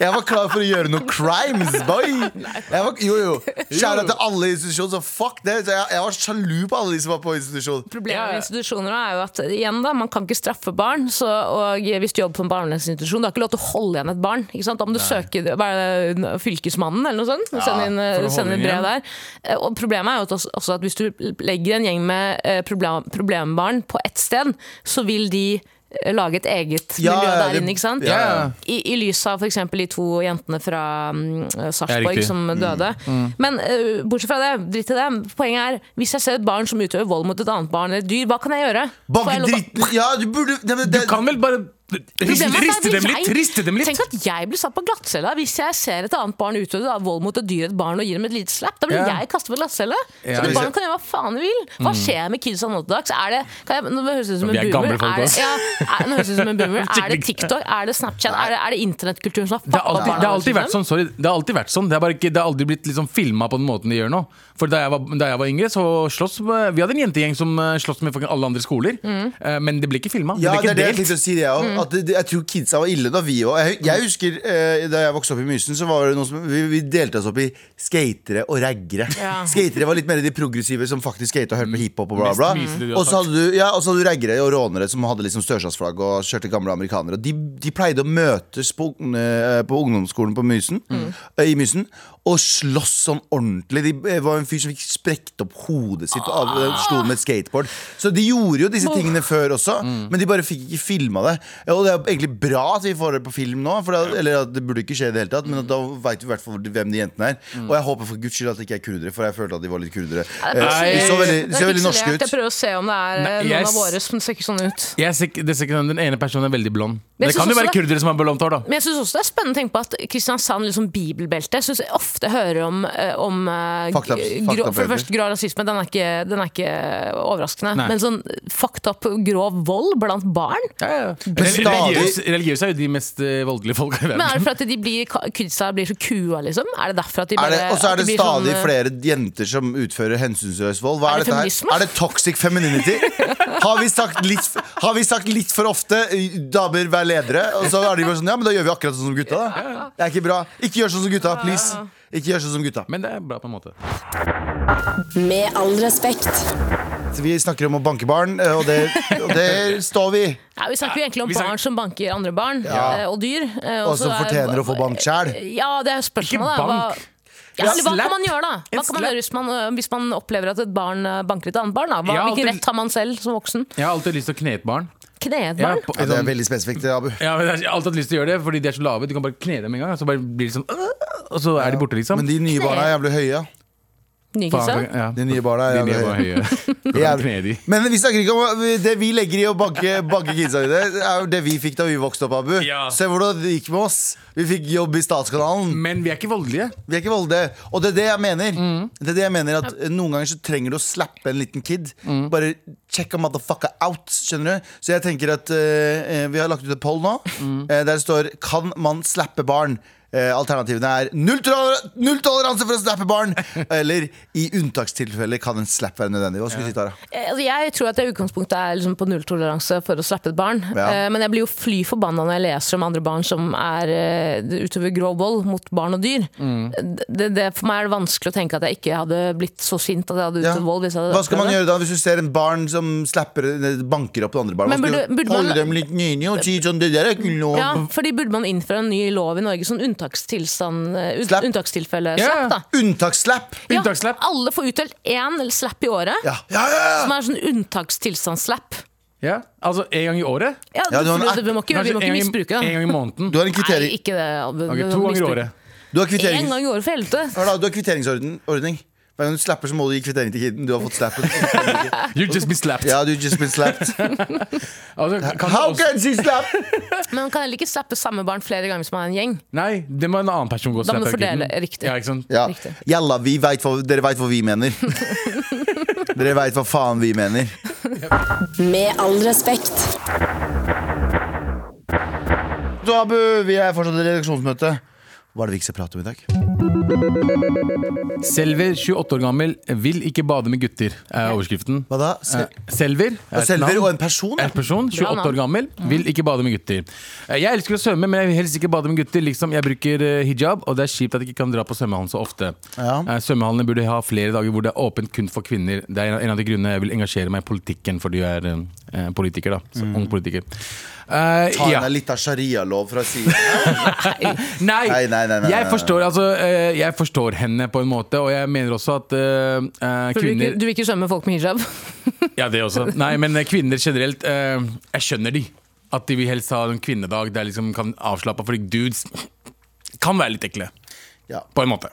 [SPEAKER 3] Jeg var klar for å gjøre noe crimes, boy! Jeg var, jo, jo. Kjære til alle institusjoner, så fuck det. Så jeg, jeg var sjalu på alle de som var på institusjon.
[SPEAKER 2] Problemet
[SPEAKER 4] Ja, ja.
[SPEAKER 2] med institusjoner er jo at igjen da, man kan ikke straffe barn. Så, og hvis du jobber på en barnevernsinstitusjon, du har ikke lov til å holde igjen et barn. Ikke sant? Da må du søke hva er det, Fylkesmannen eller noe sånt. sende inn,
[SPEAKER 4] for å holde
[SPEAKER 2] sende inn brev
[SPEAKER 4] igjen.
[SPEAKER 2] der. Eh, Og problemet er jo at også, også at hvis du legger en gjeng med eh, problem, problembarn på ett sted, så vil de eh, lage et eget
[SPEAKER 3] Ja,
[SPEAKER 2] miljø
[SPEAKER 3] ja,
[SPEAKER 2] der
[SPEAKER 3] det-
[SPEAKER 2] inne, ikke sant?
[SPEAKER 3] ja,
[SPEAKER 4] ja.
[SPEAKER 2] I, I lys av f.eks. de to jentene fra mm,
[SPEAKER 4] Ja,
[SPEAKER 2] Sarpsborg
[SPEAKER 4] riktig.
[SPEAKER 2] som døde.
[SPEAKER 4] Mm.
[SPEAKER 2] Men eh, bortsett fra det, dritt i det. Poenget er, hvis jeg ser et barn som utøver vold mot et annet barn eller et dyr, hva kan jeg gjøre? Får jeg
[SPEAKER 3] Banke
[SPEAKER 2] lov-
[SPEAKER 3] dritten Ja, du burde nei, men det,
[SPEAKER 4] Du kan vel bare
[SPEAKER 2] Problemet er
[SPEAKER 4] riste,
[SPEAKER 2] at
[SPEAKER 4] riste dem
[SPEAKER 2] jeg-
[SPEAKER 4] litt! Riste dem litt!
[SPEAKER 2] Tenk at jeg blir satt på glattcella hvis jeg ser et annet barn utøve da, vold mot et dyr et barn og gir dem et lite slapp. Da blir
[SPEAKER 4] Ja.
[SPEAKER 2] jeg kastet på glattcella. så det
[SPEAKER 4] Ja, hvis Mm.
[SPEAKER 2] barnet kan gjøre hva faen det vil. Hva skjer med kidsa nå til dags? Er det, kan jeg, nå høres det ut som en
[SPEAKER 4] Vi er
[SPEAKER 2] boomer.
[SPEAKER 4] gamle folk,
[SPEAKER 2] er det,
[SPEAKER 4] ass.
[SPEAKER 2] ja, er, nå høres det ut som en
[SPEAKER 4] [laughs]
[SPEAKER 2] boomer. Er det
[SPEAKER 4] Skikkelig.
[SPEAKER 2] TikTok? Er det Snapchat? Er det, er det internettkulturen som har
[SPEAKER 4] Det
[SPEAKER 2] fucka
[SPEAKER 4] har alltid, det har alltid
[SPEAKER 2] våre,
[SPEAKER 4] vært
[SPEAKER 2] liksom?
[SPEAKER 4] sånn. sorry Det har alltid vært sånn Det har, bare ikke, det har aldri blitt liksom filma på den måten de gjør nå. For Da jeg var, da jeg var yngre, så slåss vi hadde en jentegjeng som eh, slåss med fucking alle andre skoler. Eh, Men det ble ikke filma.
[SPEAKER 3] Ja, det
[SPEAKER 4] det
[SPEAKER 3] er det jeg
[SPEAKER 4] ble ikke
[SPEAKER 3] tenkte
[SPEAKER 4] delt.
[SPEAKER 3] å si, det jeg òg. At det- det- Jeg tror kidsa var ille da vi òg. Jeg, jeg husker eh, da jeg vokste opp i Mysen, så var det noe som Vi, vi delte oss opp i skatere og raggere.
[SPEAKER 2] Ja.
[SPEAKER 3] Skatere var litt mer de progressive som faktisk skata og hørte på hiphop og bla,
[SPEAKER 4] Mest
[SPEAKER 3] bla.
[SPEAKER 4] myselige du har
[SPEAKER 3] Og så hadde du, ja, og så hadde du raggere og rånere som hadde liksom Størstadsflagg og kjørte gamle amerikanere. Og de, de pleide å møtes på, ung- eh, på ungdomsskolen på Mysen, eh, i Mysen og slåss sånn ordentlig. De, det var en fyr som fikk sprekt opp hodet sitt og av, eh, slo med et skateboard. Så de gjorde jo disse tingene før også,
[SPEAKER 2] Mm.
[SPEAKER 3] men de bare fikk ikke filma det. Og det er egentlig bra at vi får det på film nå, for det, eller at det burde ikke skje i det hele tatt, men at da
[SPEAKER 2] Mm.
[SPEAKER 3] veit vi i hvert fall hvem de jentene er. Og jeg håper for guds skyld at det ikke er kurdere, for jeg følte at de var litt kurdere. Eh, De så veldig, de
[SPEAKER 2] Det
[SPEAKER 3] så
[SPEAKER 2] er
[SPEAKER 3] veldig norske
[SPEAKER 2] pikselert.
[SPEAKER 3] ut.
[SPEAKER 2] Jeg prøver å se om det er eh,
[SPEAKER 4] Nei,
[SPEAKER 2] noen
[SPEAKER 4] jeg s-
[SPEAKER 2] av våre som ser ikke sånn ut.
[SPEAKER 4] Jeg ser ikke- det ser ikke sånn- Den ene personen er veldig blond.
[SPEAKER 2] Men jeg
[SPEAKER 4] Det kan
[SPEAKER 2] synes
[SPEAKER 4] jo være
[SPEAKER 2] også det-
[SPEAKER 4] kurdere som har blondt hår, da.
[SPEAKER 2] Men jeg synes også det er spennende å tenke på at Kristiansand, liksom bibelbeltet, synes jeg ofte hører om, eh, om eh,
[SPEAKER 3] Fucked up-
[SPEAKER 2] grå-
[SPEAKER 3] fucked up
[SPEAKER 2] For det
[SPEAKER 3] bøker.
[SPEAKER 2] første, grå rasisme, den er ikke, den er ikke overraskende.
[SPEAKER 4] Nei.
[SPEAKER 2] Men sånn fucked up grov vold blant barn?
[SPEAKER 4] Rel-
[SPEAKER 3] stadig-
[SPEAKER 4] Religiøse religiøse er jo de mest eh, voldelige folka i
[SPEAKER 2] Men er
[SPEAKER 4] verden.
[SPEAKER 2] det for at de blir, kidsa blir så kua, liksom? Er det derfor at de
[SPEAKER 3] Er
[SPEAKER 2] bare
[SPEAKER 3] det, og
[SPEAKER 2] at
[SPEAKER 3] så er det
[SPEAKER 2] de blir
[SPEAKER 3] stadig
[SPEAKER 2] sånn, eh,
[SPEAKER 3] flere jenter som utfører hensynsløs vold. Hva
[SPEAKER 2] Er
[SPEAKER 3] er,
[SPEAKER 2] det
[SPEAKER 3] dette
[SPEAKER 2] feminisme?
[SPEAKER 3] her? Er det toxic femininity? Har vi, sagt litt, har vi sagt litt for ofte 'damer, vær ledere'? Og så er de bare sånn Ja, men da gjør vi akkurat sånn som gutta, da. Det er ikke bra. Ikke gjør sånn som gutta, please. Ikke gjør sånn som gutta.
[SPEAKER 4] Men det er bra på en måte.
[SPEAKER 1] Med all respekt.
[SPEAKER 3] Så vi snakker om å banke barn, eh, og det, og det står vi i.
[SPEAKER 2] ja, Vi snakker jo egentlig om
[SPEAKER 4] Vi snakker-
[SPEAKER 2] barn som banker andre barn,
[SPEAKER 3] Ja.
[SPEAKER 2] eh, og dyr. eh,
[SPEAKER 3] Og
[SPEAKER 2] så
[SPEAKER 3] som
[SPEAKER 2] er-
[SPEAKER 3] fortjener å få bank sjæl.
[SPEAKER 2] Ja, det er
[SPEAKER 4] Ikke
[SPEAKER 2] spørsmålet. da. Hva-
[SPEAKER 4] bank.
[SPEAKER 2] Ja, eller hva
[SPEAKER 4] slapp.
[SPEAKER 2] kan man gjøre da?
[SPEAKER 4] En
[SPEAKER 2] Hva kan man
[SPEAKER 4] slapp.
[SPEAKER 2] gjøre hvis man, øh, hvis man opplever at et barn øh, banker et annet barn? da? Hva,
[SPEAKER 4] Ja,
[SPEAKER 2] Hvilken
[SPEAKER 4] alltid-
[SPEAKER 2] rett har man selv som voksen?
[SPEAKER 4] Jeg har alltid lyst til å kne et barn.
[SPEAKER 2] Kne et
[SPEAKER 4] Ja,
[SPEAKER 2] barn?
[SPEAKER 4] på- sånn-
[SPEAKER 3] Ja, det er veldig spesifikt, Abu.
[SPEAKER 4] Ja, men jeg har alltid hatt lyst til å gjøre det, fordi de er så lave. Du kan bare kne dem en gang, og så bare blir de sånn øh, Og så er de borte, liksom.
[SPEAKER 3] Men de nye barna er jævlig høye. ja.
[SPEAKER 2] Nygelse?
[SPEAKER 4] Faen, ja.
[SPEAKER 3] De nye barna er
[SPEAKER 4] De
[SPEAKER 3] jævlig
[SPEAKER 4] nye
[SPEAKER 3] høye.
[SPEAKER 4] var høye. Går an å kne de.
[SPEAKER 3] Jævlig. Men vi snakker ikke om det vi legger i å banke, banke kidsa i det. Det er jo det vi fikk da vi vokste opp, Abu.
[SPEAKER 4] Ja.
[SPEAKER 3] Se hvordan det gikk med oss. Vi fikk jobb i Statskanalen.
[SPEAKER 4] [laughs] Men vi er ikke voldelige.
[SPEAKER 3] Vi er ikke voldelige. Og det er det jeg mener. Det er det jeg mener at Noen ganger så trenger du å slappe en liten kid. Bare check a motherfucker out. Skjønner du? Så jeg tenker at eh, eh, vi har lagt ut et poll nå. eh, der det står 'Kan man slappe barn?' Eh, alternativene er null, toler null toleranse for å slappe barn! Eller i unntakstilfeller kan en slap være nødvendig. Hva skulle du si, Tara?
[SPEAKER 2] Eh, Altså, jeg tror at jeg i utgangspunktet er liksom på nulltoleranse for å slappe et barn.
[SPEAKER 3] Ja.
[SPEAKER 2] Eh, Men jeg blir jo fly forbanna når jeg leser om andre barn som er eh, utover grov vold mot barn og dyr.
[SPEAKER 3] Mm.
[SPEAKER 2] Eh, Det, det, for meg er det vanskelig å tenke at jeg ikke hadde blitt så sint at jeg hadde
[SPEAKER 3] Ja.
[SPEAKER 2] utøvd vold. Hvis jeg hadde
[SPEAKER 3] Hva skal man
[SPEAKER 2] opplevd det.
[SPEAKER 3] gjøre da hvis du ser en barn som slapper, eh, banker opp det andre barnet?
[SPEAKER 2] Men
[SPEAKER 3] Man
[SPEAKER 2] burde-
[SPEAKER 3] skal
[SPEAKER 2] burde
[SPEAKER 3] holde
[SPEAKER 2] man-
[SPEAKER 3] dem litt nyne og si sånn, det der er ikke lov.
[SPEAKER 2] Ja, fordi Burde man innføre en ny lov i Norge, sånn unntakstilstand, eh, ut-
[SPEAKER 3] Slapp.
[SPEAKER 2] unntakstilfelle slapp,
[SPEAKER 4] Ja.
[SPEAKER 2] da?
[SPEAKER 3] Unntaksslapp!
[SPEAKER 2] Ja,
[SPEAKER 4] Unntaksslapp.
[SPEAKER 2] alle får utdelt én eller slapp i året,
[SPEAKER 3] Ja. Ja, ja,
[SPEAKER 2] som er sånn unntakstilstandsslapp.
[SPEAKER 4] Ja, altså en gang i året.
[SPEAKER 2] Ja,
[SPEAKER 3] Ja,
[SPEAKER 2] du,
[SPEAKER 3] du har en
[SPEAKER 2] du, vi må ikke, vi må ikke
[SPEAKER 4] en, gang i-
[SPEAKER 2] misbruke
[SPEAKER 4] en
[SPEAKER 2] den.
[SPEAKER 4] gang i
[SPEAKER 2] [laughs]
[SPEAKER 4] måneden.
[SPEAKER 3] Du har en
[SPEAKER 2] Nei,
[SPEAKER 3] kvittering.
[SPEAKER 2] ikke det. Abu.
[SPEAKER 4] Ok,
[SPEAKER 2] Du-
[SPEAKER 4] to
[SPEAKER 2] du
[SPEAKER 4] ganger i
[SPEAKER 2] misbruker.
[SPEAKER 4] året.
[SPEAKER 3] Du har, kvittering.
[SPEAKER 2] En gang i året for helvete.
[SPEAKER 3] Hør da, du har kvitteringsordning. ordning. Hver gang du slapper, så må du gi kvittering til kiden. Du har fått
[SPEAKER 2] [laughs]
[SPEAKER 3] slappet.
[SPEAKER 4] You just be slapped.
[SPEAKER 3] Ja, du just been slapped.
[SPEAKER 4] Altså, kan du
[SPEAKER 3] How
[SPEAKER 4] også-
[SPEAKER 3] can she slap?
[SPEAKER 2] Men man kan heller ikke slappe samme barn flere ganger hvis man er en gjeng.
[SPEAKER 4] Nei, det må en annen person gå og
[SPEAKER 2] Da må du
[SPEAKER 4] slappe
[SPEAKER 2] fordele,
[SPEAKER 4] kiden.
[SPEAKER 2] riktig.
[SPEAKER 4] Ja, ikke sant?
[SPEAKER 3] Ja.
[SPEAKER 2] Riktig.
[SPEAKER 3] Jalla, vi vet hva, dere veit hva vi
[SPEAKER 2] [laughs]
[SPEAKER 3] mener. Dere veit hva faen vi mener.
[SPEAKER 1] Med all respekt.
[SPEAKER 3] Så Abu, vi er fortsatt i redaksjonsmøte. Hva er det vi ikke skal prate om i dag?
[SPEAKER 4] Selver, 28 år gammel, vil ikke bade med gutter, er overskriften.
[SPEAKER 3] Hva da?
[SPEAKER 4] Eh,
[SPEAKER 3] Se-
[SPEAKER 4] Selver. er et
[SPEAKER 3] Selver
[SPEAKER 4] navn.
[SPEAKER 3] og en person?
[SPEAKER 4] En person, 28
[SPEAKER 2] navn.
[SPEAKER 4] år gammel, vil ikke bade med gutter. Eh, Jeg elsker å svømme, men jeg vil helst ikke bade med gutter. Liksom, jeg bruker eh, hijab, og det er kjipt at jeg ikke kan dra på svømmehallen så ofte.
[SPEAKER 3] Ja.
[SPEAKER 4] Eh, Svømmehallene burde ha flere dager hvor det er åpent kun for kvinner. Det er en- en av de grunnene jeg vil engasjere meg i politikken, fordi jeg er eh, politiker, da. Så, Ung politiker. Eh,
[SPEAKER 3] Mm. Ta
[SPEAKER 4] ja.
[SPEAKER 3] deg litt av sharia-lov fra siden.
[SPEAKER 4] [laughs] Nei,
[SPEAKER 3] Nei, nei, nei, nei,
[SPEAKER 4] jeg,
[SPEAKER 3] nei.
[SPEAKER 4] forstår, altså, eh, jeg forstår henne på en måte, og jeg mener også at eh, eh,
[SPEAKER 2] For du, vil
[SPEAKER 4] kvinner
[SPEAKER 2] ikke- du vil ikke svømme med folk med hijab? [laughs]
[SPEAKER 4] Ja, det også. Nei, men kvinner generelt, eh, jeg skjønner de. At de vil helst ha en kvinnedag der liksom kan avslappe, fordi dudes kan være litt ekle.
[SPEAKER 3] Ja.
[SPEAKER 4] På en måte.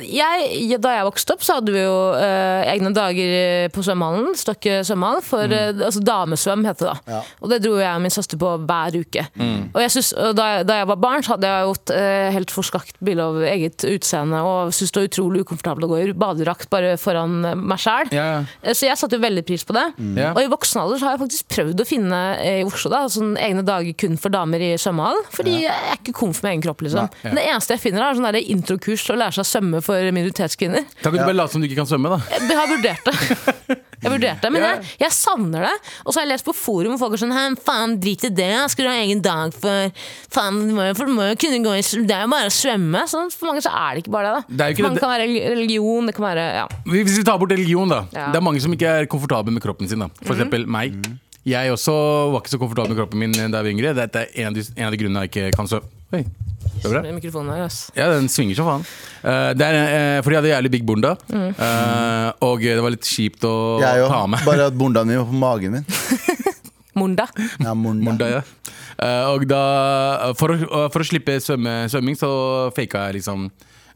[SPEAKER 2] Jeg, da jeg vokste opp, så hadde vi jo eh, egne dager eh, på svømmehallen. Stokke svømmehall. For eh, altså damesvøm, het det da.
[SPEAKER 3] Ja.
[SPEAKER 2] Og det dro jeg og min søster på hver uke. Og jeg synes, og da, jeg- da jeg var barn, så hadde jeg jo et eh, helt forskakt bilde av eget utseende og syntes det var utrolig ukomfortabelt å gå i badedrakt bare foran eh, meg sjæl.
[SPEAKER 4] Ja,
[SPEAKER 2] Eh, Så jeg satte jo veldig pris på det.
[SPEAKER 4] Ja.
[SPEAKER 2] Og i voksen alder så har jeg faktisk prøvd å finne eh, i Oslo da, sånne egne dager kun for damer i svømmehall. Fordi jeg er ikke komf med egen kropp. liksom.
[SPEAKER 4] Nei.
[SPEAKER 2] Men det eneste jeg finner, er sånn der introkurs til å lære seg å svømme for minoritetskvinner.
[SPEAKER 4] Kan ikke du bare late som du ikke kan svømme, da?
[SPEAKER 2] Jeg har vurdert det.
[SPEAKER 4] [laughs]
[SPEAKER 2] Jeg vurderte det, Men jeg, jeg savner det. Og så har jeg lest på forum hvor folk er sånn «Hæ, Faen, drit i det. Skal du ha egen dag for Faen, du må jo, for du må jo kunne gå i s- Det er jo bare å svømme. Sånn, for mange så er det ikke bare det. da.
[SPEAKER 4] Det er jo
[SPEAKER 2] for
[SPEAKER 4] ikke
[SPEAKER 2] mange
[SPEAKER 4] det-
[SPEAKER 2] kan være relig- religion, det kan være ja.
[SPEAKER 4] Hvis vi tar bort religion, da.
[SPEAKER 2] Ja.
[SPEAKER 4] Det er mange som ikke er komfortable med kroppen sin. da For eksempel meg.
[SPEAKER 3] Mhm.
[SPEAKER 4] Jeg også var ikke så komfortabel med kroppen min eh, da jeg var yngre. Dette er en av de, en av de grunnene jeg ikke kan svømme. Oi, det er bra.
[SPEAKER 2] Mikrofonen her, ass.
[SPEAKER 4] Ja, den svinger som faen. Eh, det er, eh, fordi jeg hadde jævlig big bunda, Eh, og det var litt kjipt å
[SPEAKER 3] Jeg
[SPEAKER 4] ta
[SPEAKER 3] òg.
[SPEAKER 4] med.
[SPEAKER 3] Bare at bondaen min var på magen
[SPEAKER 4] [laughs]
[SPEAKER 3] min.
[SPEAKER 2] Munda.
[SPEAKER 3] Ja, morna.
[SPEAKER 4] Morda, ja. Eh, og da, eh, for, å, for å slippe svømme, svømming, så faka jeg liksom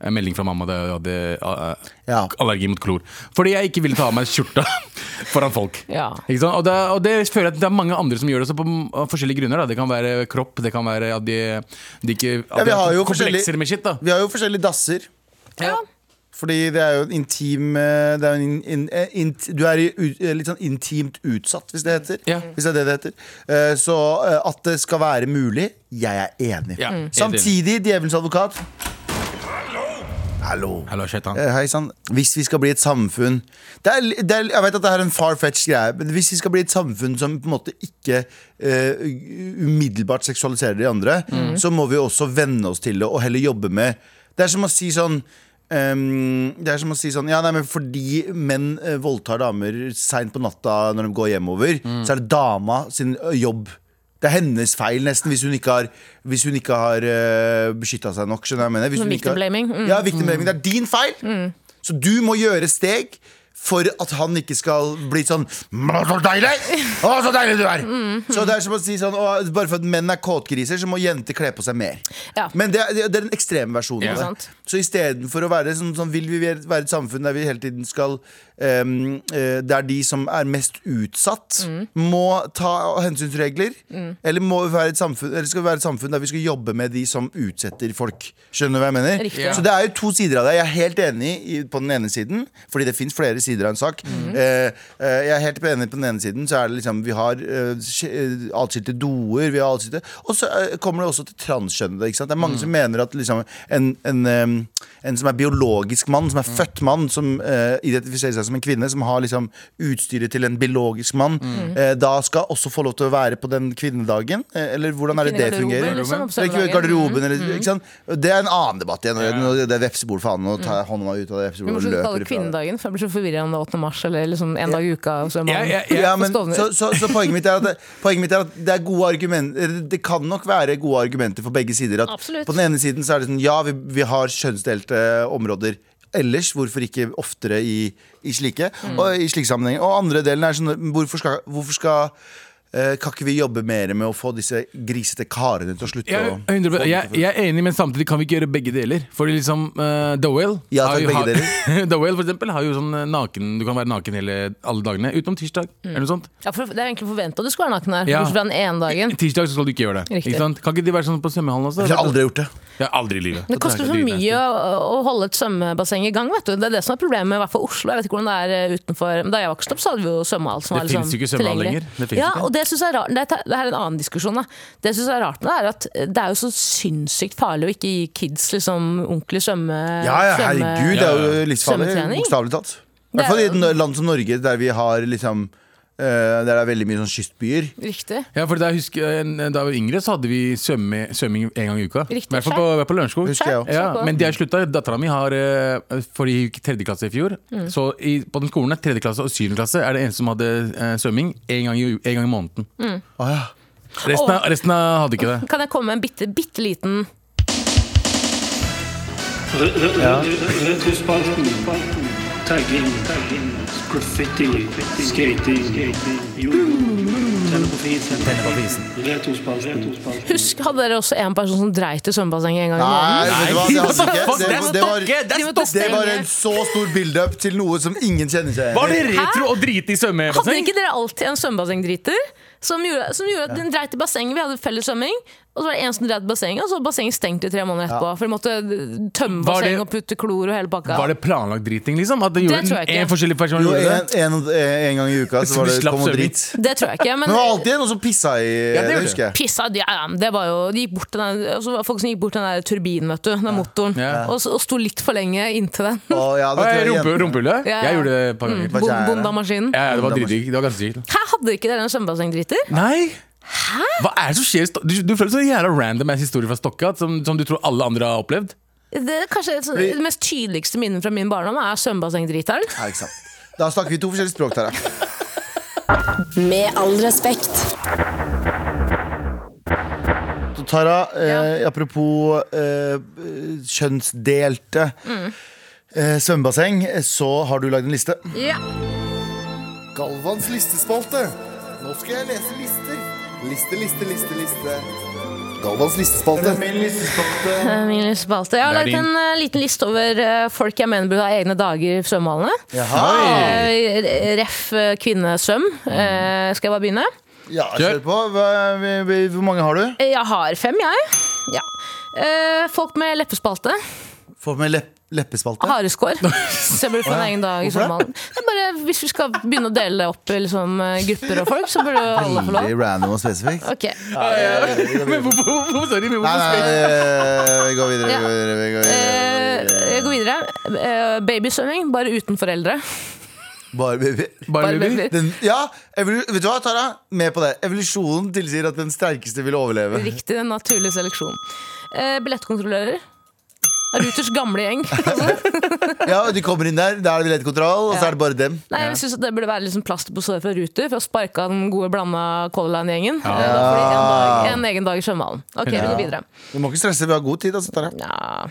[SPEAKER 4] en melding fra mamma da jeg hadde eh,
[SPEAKER 3] Ja.
[SPEAKER 4] allergi mot klor. Fordi jeg ikke ville ta av meg skjorta [laughs] foran folk.
[SPEAKER 2] Ja.
[SPEAKER 4] Ikke sant? Og, det, og det føler jeg at det er mange andre som gjør det også på m- av forskjellige grunner. Da. Det kan være kropp, det kan være at de, de ikke
[SPEAKER 3] Ja,
[SPEAKER 4] at
[SPEAKER 3] vi
[SPEAKER 4] de
[SPEAKER 3] har jo
[SPEAKER 4] komplekser
[SPEAKER 3] forskjellig-
[SPEAKER 4] med shit. Da.
[SPEAKER 3] Vi har jo forskjellige dasser.
[SPEAKER 2] Ja.
[SPEAKER 3] Fordi det er jo en intim eh, det er jo en in, in, eh, int- Du er i, ut- eh, litt sånn intimt utsatt, hvis det heter.
[SPEAKER 4] Ja.
[SPEAKER 3] Hvis det er det det heter. Eh, Så eh, at det skal være mulig, jeg er enig.
[SPEAKER 4] Ja, Mm. helt
[SPEAKER 3] Samtidig, djevelens advokat Hallo.
[SPEAKER 4] Hallo, shaitan.
[SPEAKER 3] Eh, Hei sann. Hvis vi skal bli et samfunn det er, li- det er, Jeg vet at det er en far-fetched greie, men hvis vi skal bli et samfunn som på en måte ikke eh, umiddelbart seksualiserer de andre, så må vi også venne oss til det og heller jobbe med Det er som å si sånn ehm, det er som å si sånn Ja, nei, men fordi menn eh, voldtar damer seint på natta når de går hjemover, så er det dama sin ø, jobb. Det er hennes feil, nesten, hvis hun ikke har, hvis hun ikke har beskytta seg nok. Skjønner du hva jeg mener? Hvis
[SPEAKER 2] Sånn
[SPEAKER 3] hun ikke har-
[SPEAKER 2] victim-blaming, mm.
[SPEAKER 3] Ja, victim blaming. Det er din feil. Så du må gjøre steg for at han ikke skal bli sånn «Å, Så deilig! Å, så deilig du er!
[SPEAKER 2] Mm.
[SPEAKER 3] Så det er som å si sånn å, Bare for at menn er kåtgriser, så må jenter kle på seg mer.
[SPEAKER 2] Ja.
[SPEAKER 3] Men det er, det er den ekstreme versjonen
[SPEAKER 4] Ja.
[SPEAKER 3] av det. Så istedenfor å være sånn, sånn Vil vi være et samfunn der vi hele tiden skal ehm, eh, Der de som er mest utsatt,
[SPEAKER 2] Mm.
[SPEAKER 3] må ta hensynsregler? Eller, må vi være et samfunn, eller skal vi være et samfunn der vi skal jobbe med de som utsetter folk? Skjønner du hva jeg mener?
[SPEAKER 2] Riktig. Ja.
[SPEAKER 3] Så det er jo to sider av det. Jeg er helt enig i, på den ene siden, fordi det fins flere sider av en sak.
[SPEAKER 2] Mhm.
[SPEAKER 3] Eh, eh, jeg er helt enig på den ene siden, så er det liksom Vi har eh, sk- eh, atskilte doer, vi har atskilte Og så eh, kommer det også til transkjønnede. ikke sant? Det
[SPEAKER 2] Mhm.
[SPEAKER 3] er mange som mener at liksom en, en, eh, en som er biologisk mann, som er
[SPEAKER 2] Mhm.
[SPEAKER 3] født mann, som eh, identifiserer seg som en kvinne, som har liksom utstyret til en biologisk mann,
[SPEAKER 2] Mhm.
[SPEAKER 3] eh, da skal også få lov til å være på den kvinnedagen? Eh, eller hvordan er det det
[SPEAKER 2] Kvinnegarderoben,
[SPEAKER 3] fungerer?
[SPEAKER 2] liksom, på
[SPEAKER 3] Eller ikke
[SPEAKER 2] søndagen.
[SPEAKER 3] garderoben, eller, ikke sant? Det er en annen debatt igjen. Nå- Det er vepsebol, faen. Nå tar jeg hånda ut av det
[SPEAKER 2] Vi må
[SPEAKER 3] vepsebordet og
[SPEAKER 2] slutte å kalle det
[SPEAKER 3] løper fra det.
[SPEAKER 2] kvinnedagen, for jeg blir så forvirra om det er 8. mars eller liksom en dag i uka. Så er man-
[SPEAKER 4] Jeg- jeg-
[SPEAKER 3] Ja, men,
[SPEAKER 2] Stovner.
[SPEAKER 3] så, så, så poenget mitt er at det, poenget mitt er at det er gode argumenter Det kan nok være gode argumenter for begge sider. At
[SPEAKER 2] Absolutt.
[SPEAKER 3] På den ene siden så er det sånn Ja, vi, vi har kjønnsdelte områder ellers. Hvorfor ikke oftere i, i slike Og i slike sammenhenger. Og andre delen er sånn Hvorfor skal, hvorfor skal eh, Kan ikke vi jobbe mer med å få disse grisete karene til å slutte
[SPEAKER 4] Jeg,
[SPEAKER 3] å
[SPEAKER 4] 100%, jeg, jeg er enig, men samtidig kan vi ikke gjøre begge deler. Fordi liksom eh, The Whale
[SPEAKER 3] Ja, takk,
[SPEAKER 4] har jo-
[SPEAKER 3] begge
[SPEAKER 4] har- [laughs]
[SPEAKER 3] deler.
[SPEAKER 4] The Whale for eksempel har jo sånn eh, naken Du kan være naken hele, alle dagene, utenom tirsdag.
[SPEAKER 2] Mm.
[SPEAKER 4] Eller noe sånt
[SPEAKER 2] Ja, for det er egentlig forventa at du skal være naken her.
[SPEAKER 4] Ja.
[SPEAKER 2] Bortsett fra den ene dagen.
[SPEAKER 4] Tirsdag så skal du ikke gjøre det.
[SPEAKER 2] Riktig.
[SPEAKER 4] Ikke sant? Kan ikke de være sånn på svømmehallen også?
[SPEAKER 3] Jeg har aldri gjort det.
[SPEAKER 4] Jeg har aldri i livet.
[SPEAKER 2] Det koster så mye å, å holde et svømmebasseng i gang. vet du Det er det som er problemet, i hvert fall Oslo. Jeg vet ikke hvordan det er eh, utenfor men Da jeg vokste opp, så hadde vi jo svømmehall. som
[SPEAKER 4] Det
[SPEAKER 2] var liksom
[SPEAKER 4] finnes jo ikke svømmehall
[SPEAKER 2] tilgjengelig.
[SPEAKER 4] lenger. Det finnes
[SPEAKER 2] ja,
[SPEAKER 4] ikke.
[SPEAKER 2] og det synes jeg er rart det, er- det her er en annen diskusjon. Da. Det synes jeg er rart med det, er at eh, det er jo så sinnssykt farlig å ikke gi kids liksom, ordentlig svømme...
[SPEAKER 3] Ja, ja,
[SPEAKER 2] Eh, svømme-
[SPEAKER 3] herregud, det er jo livsfarlig.
[SPEAKER 2] Svømmetrening?
[SPEAKER 3] Bokstavelig talt. I
[SPEAKER 2] Det er
[SPEAKER 3] hvert fall i
[SPEAKER 2] jo-
[SPEAKER 3] et land som Norge, der vi har liksom eh, Der det er veldig mye sånn kystbyer.
[SPEAKER 2] Riktig.
[SPEAKER 4] Ja, for da, jeg husker, eh, da jeg var yngre, så hadde vi svømme, svømming en gang i uka. I
[SPEAKER 2] Riktig,
[SPEAKER 4] hvert fall på, i hvert fall på Lørenskog.
[SPEAKER 3] Husker jeg også.
[SPEAKER 4] Ja, men de har slutta. Dattera mi har eh, For de gikk tredje klasse i fjor.
[SPEAKER 2] Mm.
[SPEAKER 4] Så i, på den skolen, tredje klasse og syvende klasse, er det eneste som hadde eh, svømming én gang, i u- en gang i måneden.
[SPEAKER 3] Å, ja.
[SPEAKER 4] Resten, av, resten av hadde ikke det.
[SPEAKER 2] Kan jeg komme med en bitte, bitte liten
[SPEAKER 5] Retrospalten. Tagging. Graffiti. Skating. Jojo. Tenne på fisen. Retrospalten.
[SPEAKER 2] Husk, hadde dere også en person som dreit i svømmebassenget en gang i
[SPEAKER 3] Nei,
[SPEAKER 2] måneden?
[SPEAKER 3] vet du hva, det
[SPEAKER 4] [laughs]
[SPEAKER 3] hadde vi ikke. Det, det, var,
[SPEAKER 2] De måtte
[SPEAKER 3] det var
[SPEAKER 2] stenge.
[SPEAKER 3] en så stor build-up til noe som ingen kjenner seg
[SPEAKER 4] Var det
[SPEAKER 3] igjen i.
[SPEAKER 4] retro å drite i
[SPEAKER 2] Hadde
[SPEAKER 4] svømmebasseng?
[SPEAKER 2] ikke dere alltid en svømmebassengdriter? Som gjorde, som gjorde at den dreit i bassenget, vi hadde felles svømming. Og så var det en som dreit i bassenget, og så var bassenget stengt i tre måneder etterpå. For de måtte eh, tømme
[SPEAKER 4] Var det-
[SPEAKER 2] bassenget og putte klor og hele pakka.
[SPEAKER 4] Var det planlagt driting, liksom? At det
[SPEAKER 2] Det
[SPEAKER 4] gjorde
[SPEAKER 2] tror jeg ikke.
[SPEAKER 4] en forskjellig person
[SPEAKER 3] Jo,
[SPEAKER 4] gjorde det?
[SPEAKER 3] en, en, en gang i uka så var det
[SPEAKER 4] Så du slapp
[SPEAKER 3] kom og
[SPEAKER 4] svømming?
[SPEAKER 3] drit.
[SPEAKER 2] Det tror jeg ikke. Men
[SPEAKER 4] [laughs]
[SPEAKER 3] Men det var alltid en som pissa i
[SPEAKER 4] det
[SPEAKER 3] det
[SPEAKER 4] gjorde
[SPEAKER 3] husker jeg.
[SPEAKER 2] pissa ja, ja, men det var jo de gikk bort til den, altså, det var Folk som gikk bort til den der turbinen, vet du. Den der motoren.
[SPEAKER 4] Ja.
[SPEAKER 2] Og, s- og sto litt for lenge inntil den.
[SPEAKER 3] Å, ja, det
[SPEAKER 4] Å,
[SPEAKER 3] tror jeg
[SPEAKER 4] rumpe-
[SPEAKER 3] igjen. Mm.
[SPEAKER 4] Rumpehullet?
[SPEAKER 2] Ja.
[SPEAKER 4] Jeg gjorde det et par ganger.
[SPEAKER 3] Hva
[SPEAKER 2] Bon-
[SPEAKER 3] er det?
[SPEAKER 2] Bondamaskinen.
[SPEAKER 4] Ja, ja, det var dritdigg. Det var ganske sykt.
[SPEAKER 2] Hæ, hadde ikke dere en svømmebassengdriter?
[SPEAKER 4] Nei! Hva er det som skjer? i Sto- Du, du føler så jævla random ass historie fra Stokka som, som du tror alle andre har opplevd. [laughs]
[SPEAKER 2] Det, er kanskje et sånt,
[SPEAKER 3] Fordi-
[SPEAKER 2] det mest tydeligste minnet fra min barndom er svømmebassengdriteren.
[SPEAKER 3] Nei, ikke sant. Da snakker vi to forskjellige språk, Tara.
[SPEAKER 1] Med all respekt.
[SPEAKER 3] Så Tara, eh, apropos eh, kjønnsdelte eh, svømmebasseng, eh, så har du lagd en liste.
[SPEAKER 2] Ja.
[SPEAKER 6] Galvans listespalte. Nå skal jeg lese lister. Liste, liste, liste, liste. Galvans listespalte.
[SPEAKER 2] Eh, Min listespalte. Jeg har
[SPEAKER 4] Det er
[SPEAKER 2] laget en eh, liten liste over eh, folk jeg mener burde ha egne dager i svømmehallene.
[SPEAKER 3] Jaha.
[SPEAKER 2] Eh, re- Ref eh, kvinnesvøm. Eh, Skal jeg bare begynne?
[SPEAKER 3] Ja, kjør på. Hva, vi, vi, hvor mange har du?
[SPEAKER 2] Eh, Jeg har fem, jeg. Ja. Eh, Folk med leppespalte.
[SPEAKER 3] Få med lepp, leppespalte.
[SPEAKER 2] Hareskår. Så jeg burde få en egen dag i
[SPEAKER 3] Hvorfor det?
[SPEAKER 2] svømmehallen. Det er Bare, hvis vi skal begynne å dele det opp i liksom, eh, grupper og folk, så burde jo alle få lov.
[SPEAKER 3] Veldig random og Eh, spesifikt.
[SPEAKER 2] Ok.
[SPEAKER 4] Men hvorfor, hvorfor, sorry,
[SPEAKER 3] Nei,
[SPEAKER 4] men hvorfor
[SPEAKER 3] nei,
[SPEAKER 4] spør-
[SPEAKER 3] nei, vi går videre.
[SPEAKER 2] Ja.
[SPEAKER 3] Vi går videre, vi går
[SPEAKER 2] Eh,
[SPEAKER 3] videre.
[SPEAKER 2] Jeg går videre. Eh, Babysvømming, bare uten foreldre.
[SPEAKER 3] Bare baby.
[SPEAKER 4] Bare
[SPEAKER 2] Bare
[SPEAKER 4] baby?
[SPEAKER 2] baby.
[SPEAKER 3] Den, ja, evolu vet du hva, Tara? Med på det. Evolusjonen tilsier at den sterkeste vil overleve.
[SPEAKER 2] Riktig, den naturlige seleksjon. Eh, billettkontrollører. Ruters gamle
[SPEAKER 3] [laughs]
[SPEAKER 2] gjeng.
[SPEAKER 3] Ja, De kommer inn der, der er det billettkontroll, og så er det bare dem.
[SPEAKER 2] Nei, jeg synes at Det burde være liksom plaster på såret fra Ruter for å sparke av den gode blanda Color Line-gjengen. Eh, da får de en, dag- en egen dag i svømmehallen. Ok, vi går videre.
[SPEAKER 3] Du må ikke stresse, vi har god tid. Altså, Tara.
[SPEAKER 2] Ja.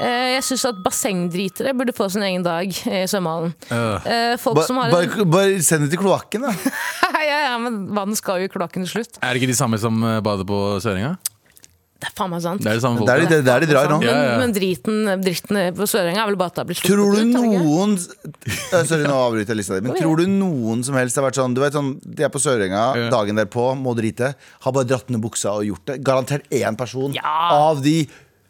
[SPEAKER 2] Eh, Jeg syns at bassengdritere burde få sin egen dag i svømmehallen.
[SPEAKER 4] Øh.
[SPEAKER 2] Eh, Folk
[SPEAKER 3] Bare
[SPEAKER 2] som har en
[SPEAKER 3] bare- bare send det til kloakken, da.
[SPEAKER 2] [laughs] ja, ja, men vann skal jo i kloakken til slutt.
[SPEAKER 4] Er det ikke de samme som eh, bader på Sørenga?
[SPEAKER 2] Det er faen meg sant. Sånn.
[SPEAKER 4] Det er de samme
[SPEAKER 3] Det er
[SPEAKER 4] folka.
[SPEAKER 3] det der de drar nå.
[SPEAKER 4] Ja, ja.
[SPEAKER 2] Men, men driten, dritten på Sørenga er vel bare at det har blitt sluppet
[SPEAKER 3] Tror du
[SPEAKER 2] ut? er det ikke?
[SPEAKER 3] noen Eh, Sorry, nå avbryter jeg lista di. Men tror du noen som helst har vært sånn Du vet sånn, De er på Sørenga, dagen derpå, må drite. Har bare dratt ned buksa og gjort det. Garantert én person
[SPEAKER 2] Ja.
[SPEAKER 3] av de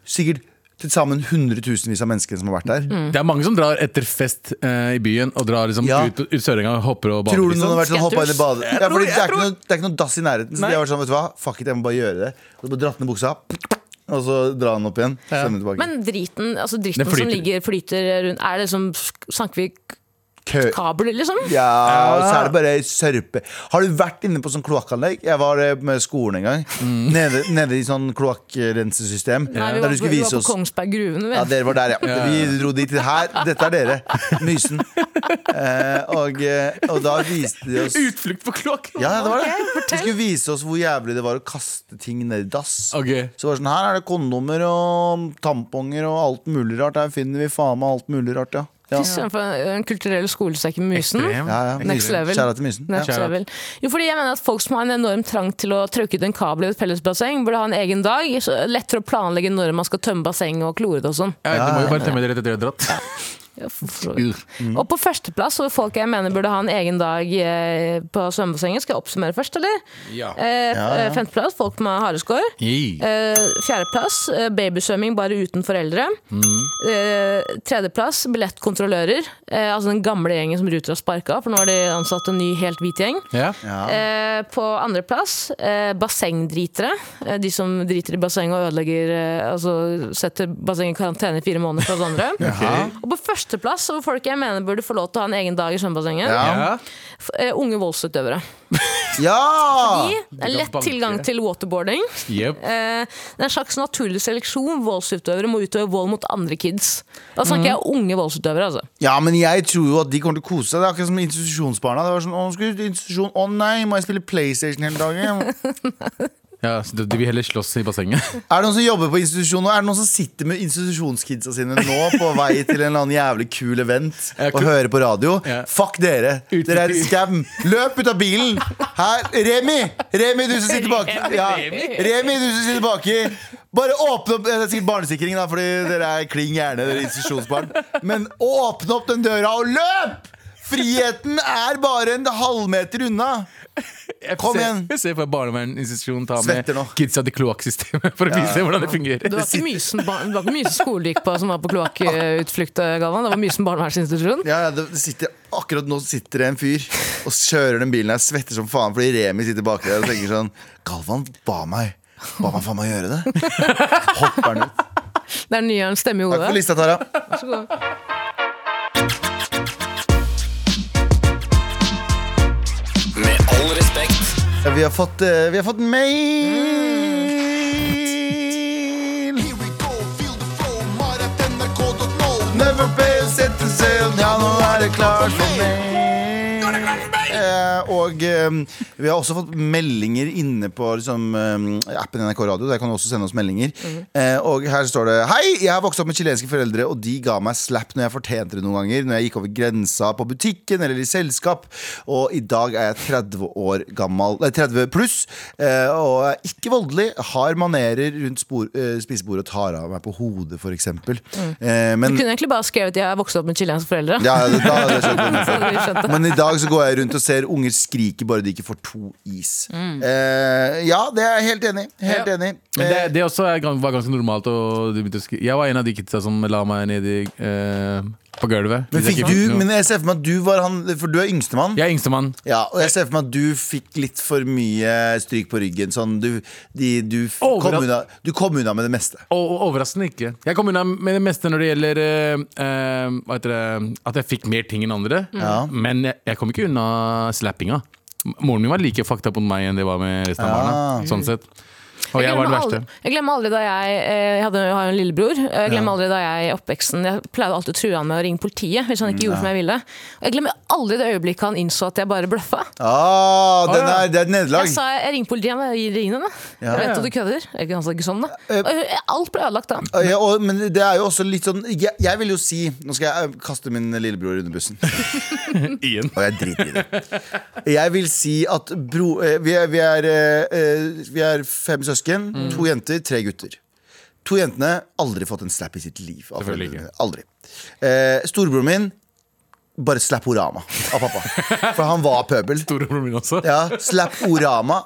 [SPEAKER 3] sikkert til sammen hundretusenvis av menneskene som har vært
[SPEAKER 2] Mm.
[SPEAKER 3] der.
[SPEAKER 4] Det er mange som drar etter fest eh, i byen og drar liksom
[SPEAKER 3] Ja.
[SPEAKER 4] ut på ut Sørenga og hopper og bader.
[SPEAKER 3] Tror du noen
[SPEAKER 4] liksom.
[SPEAKER 3] har vært sånn hoppa inn i
[SPEAKER 2] Skaters.
[SPEAKER 3] badet? Ja, fordi det er, ikke noe, det er ikke noe dass i nærheten. Så
[SPEAKER 4] Nei.
[SPEAKER 3] de har vært sånn, vet du hva, fuck it, jeg må bare gjøre det. Og så bare dratt ned buksa, og så dra den opp igjen. Svømme tilbake.
[SPEAKER 2] Men driten, altså dritten
[SPEAKER 4] Den flyter.
[SPEAKER 2] som ligger, flyter rundt Er det liksom Snakker vi k-
[SPEAKER 3] Kø.
[SPEAKER 2] kabler, liksom?
[SPEAKER 3] Ja, og så er det bare sørpe. Har du vært inne på sånn kloakkanlegg? Jeg var eh, med skolen en gang. Nede, nede i sånn kloakkrensesystem.
[SPEAKER 2] Nei, vi
[SPEAKER 3] Der
[SPEAKER 2] var,
[SPEAKER 3] du
[SPEAKER 2] på,
[SPEAKER 3] skulle
[SPEAKER 2] vi
[SPEAKER 3] vise
[SPEAKER 2] var på
[SPEAKER 3] oss
[SPEAKER 2] Kongsberg Gruven. Vi.
[SPEAKER 3] ja, dere var der, ja. Vi dro dit til her. Dette er dere. [laughs] Mysen. Eh, og, eh, og da viste de oss
[SPEAKER 4] Utflukt på kloakken!
[SPEAKER 3] Ja, ja, det var det. De skulle vise oss hvor jævlig det var å kaste ting ned i dass.
[SPEAKER 4] Ok.
[SPEAKER 3] Så var det sånn, her er det kondomer og tamponger og alt mulig rart. Her finner vi faen meg alt mulig rart, ja. ja.
[SPEAKER 2] Fy søren, for en- en kulturell skolesekk med Mysen.
[SPEAKER 4] Ekstrem.
[SPEAKER 3] ja, ja.
[SPEAKER 2] Next level.
[SPEAKER 3] Kjære til Mysen.
[SPEAKER 2] Next
[SPEAKER 3] Ja.
[SPEAKER 4] Shout out.
[SPEAKER 2] level. Jo, fordi jeg mener at Folk som har en enorm trang til å trøkke ut en kabel i et fellesbasseng, burde ha en egen dag. Så lettere å planlegge når man skal tømme bassenget og klore det og sånn.
[SPEAKER 4] Ja, du må jo bare tømme det rett etter at du har dratt.
[SPEAKER 2] Ja, for- for så vidt.
[SPEAKER 3] Mm.
[SPEAKER 2] Og på førsteplass, og folk jeg mener burde ha en egen dag eh, på svømmebassenget, skal jeg oppsummere først, eller?
[SPEAKER 4] Ja.
[SPEAKER 2] Eh,
[SPEAKER 3] Ja, ja.
[SPEAKER 2] eh, Femteplass, folk med hareskår.
[SPEAKER 4] Yeah.
[SPEAKER 2] Eh, Fjerdeplass, eh, babysvømming bare uten foreldre.
[SPEAKER 4] Mm.
[SPEAKER 2] Eh, Tredjeplass, billettkontrollører. Eh, altså den gamle gjengen som Ruter har sparka, for nå har de ansatt en ny helt hvit gjeng.
[SPEAKER 4] Ja.
[SPEAKER 2] Eh, på andreplass, eh, bassengdritere. Eh, de som driter i bassenget og ødelegger eh, Altså setter bassenget i karantene i fire måneder fra oss andre.
[SPEAKER 4] [laughs]
[SPEAKER 2] Og på førsteplass, og folk jeg mener burde få lov til å ha en egen dag i svømmebassenget,
[SPEAKER 4] Ja.
[SPEAKER 2] f- eh, unge voldsutøvere.
[SPEAKER 3] Ja!
[SPEAKER 2] De, det er lett
[SPEAKER 4] banke.
[SPEAKER 2] tilgang til waterboarding.
[SPEAKER 4] Jep.
[SPEAKER 2] Eh, det er en slags naturlig seleksjon. Voldsutøvere må utøve vold mot andre kids. Da snakker jeg om unge voldsutøvere, altså.
[SPEAKER 3] Ja, men jeg tror jo at de kommer til å kose seg. Det er akkurat som institusjonsbarna. Det var sånn, å, nå skal vi ut i institusjon. Å nei, må jeg spille PlayStation hele dagen?
[SPEAKER 4] Ja, så de de vil heller slåss i bassenget.
[SPEAKER 3] Er det noen som jobber på institusjon nå? Er det noen som sitter med institusjonskidsa sine nå på vei til en eller annen jævlig kul event
[SPEAKER 4] Jeg
[SPEAKER 3] og
[SPEAKER 4] kunne-
[SPEAKER 3] hører på radio?
[SPEAKER 4] Ja.
[SPEAKER 3] Fuck dere!
[SPEAKER 4] Ut i
[SPEAKER 3] Dere er
[SPEAKER 4] bil.
[SPEAKER 3] skam! Løp ut av bilen! Her, Remi! Remi, du som sitter baki. Ja. Remi, du som sitter baki. Bare åpne opp Det er sikkert barnesikring, da, fordi dere er kling gærne, dere institusjonsbarn. Men åpne opp den døra og løp! Friheten er bare en halvmeter unna.
[SPEAKER 4] Jeg
[SPEAKER 3] Kom
[SPEAKER 4] ser,
[SPEAKER 3] igjen.
[SPEAKER 4] Jeg ser for meg barnevernsinstitusjonen ta med
[SPEAKER 3] Svetter nå.
[SPEAKER 4] kidsa til kloakksystemet for å vise hvordan det fungerer.
[SPEAKER 2] Det var ikke Mysen, barn, det var ikke mysen skole du gikk på som var på kloakkutflukt, eh, Galvan. Det var Mysen barnevernsinstitusjon.
[SPEAKER 3] Ja, ja, det sitter, akkurat nå sitter det en fyr og kjører den bilen her, svetter som faen fordi Remi sitter bak der og tenker sånn Galvan ba meg Ba meg faen meg gjøre det. Hopper han ut.
[SPEAKER 2] Det er nyeren stemme i
[SPEAKER 3] Takk for
[SPEAKER 2] hodet.
[SPEAKER 3] lista, Tara.
[SPEAKER 2] Vær så god.
[SPEAKER 7] Med all respekt.
[SPEAKER 3] Vi har fått, eh, vi har fått mail. Never fail, sette seg Ja, nå er det klart for mail. Eh, og eh, vi har også fått meldinger inne på liksom, eh, appen NRK Radio. Der kan du også sende oss meldinger.
[SPEAKER 2] Mhm.
[SPEAKER 3] Eh, og her står det Hei, jeg har vokst opp med chilenske foreldre, og de ga meg slap når jeg fortjente det noen ganger. Når jeg gikk over grensa på butikken eller i selskap. Og i dag er jeg 30 år gammel Nei, 30 pluss. Eh, og er ikke voldelig. Har manerer rundt spor, eh, spisebordet og tar av meg på hodet, f.eks. Eh,
[SPEAKER 2] Mm. Du
[SPEAKER 3] men
[SPEAKER 2] kunne egentlig bare skrevet 'jeg har vokst opp med chilenske foreldre'.
[SPEAKER 3] ja, da hadde jeg skjønt
[SPEAKER 2] [laughs]
[SPEAKER 3] det.
[SPEAKER 2] Så hadde vi skjønt det.
[SPEAKER 3] Men i dag så går jeg rundt og ser unger skrike bare de ikke får to is.
[SPEAKER 2] Mm.
[SPEAKER 3] Eh, ja, det er jeg helt enig i. Helt
[SPEAKER 4] Ja.
[SPEAKER 3] enig.
[SPEAKER 4] Men
[SPEAKER 3] Eh,
[SPEAKER 4] det, det også er, gan- var ganske normalt. å- de begynte å skri- jeg var en av de kidsa som la meg ned i, eh, på gulvet.
[SPEAKER 3] men
[SPEAKER 4] Hvis jeg
[SPEAKER 3] fikk
[SPEAKER 4] ikke-
[SPEAKER 3] du, men jeg ser for meg at du var han For du er yngstemann.
[SPEAKER 4] Jeg er yngstemann.
[SPEAKER 3] Ja, og jeg ser for meg at du fikk litt for mye stryk på ryggen. Sånn, du, de, du, f- kom
[SPEAKER 4] Overalt.
[SPEAKER 3] unna, du kom unna med det meste.
[SPEAKER 4] Og og overraskende ikke. Jeg kom unna med det meste når det gjelder eh, eh, hva heter det, at jeg fikk mer ting enn andre.
[SPEAKER 3] Ja.
[SPEAKER 4] Men jeg, jeg kom ikke unna slappinga. M- Moren min var like fucked up mot meg enn det var med resten av
[SPEAKER 3] Ah.
[SPEAKER 4] barna. Sånn sett. Og jeg var den
[SPEAKER 2] glemmer
[SPEAKER 4] verste.
[SPEAKER 2] aldri- Jeg glemmer aldri da jeg eh, Jeg, hadde, jeg har jo en lillebror. og Jeg glemmer aldri da jeg i oppveksten Jeg pleide alltid å true han med å ringe politiet hvis han ikke
[SPEAKER 3] Mm,
[SPEAKER 2] gjorde som jeg ville. Og jeg glemmer aldri det øyeblikket han innså at jeg bare bløffa.
[SPEAKER 3] Ah, den
[SPEAKER 4] ja.
[SPEAKER 3] er, det er et nederlag.
[SPEAKER 2] Jeg sa jeg ringer politiet, men jeg ringer henne.
[SPEAKER 3] Ja. Eh,
[SPEAKER 2] Jeg vet at du kødder. Jeg kan ikke sånn, da. Og jeg- alt ble ødelagt da.
[SPEAKER 3] Ja, og, men det er jo også litt sånn jeg, jeg vil jo si Nå skal jeg eh, kaste min lillebror under bussen.
[SPEAKER 4] Igjen.
[SPEAKER 3] Og jeg driter i det. Jeg vil si at bro, eh, vi, er, vi, er, eh, vi er fem søsken. To jenter, tre gutter. To jentene aldri fått en slap i sitt liv. Av
[SPEAKER 4] Selvfølgelig
[SPEAKER 3] foreldrene. Aldri. Eh, storebroren min bare slap-orama av pappa. For han var pøbel.
[SPEAKER 4] Storebroren min også.
[SPEAKER 3] [laughs] Ja, Slap-orama.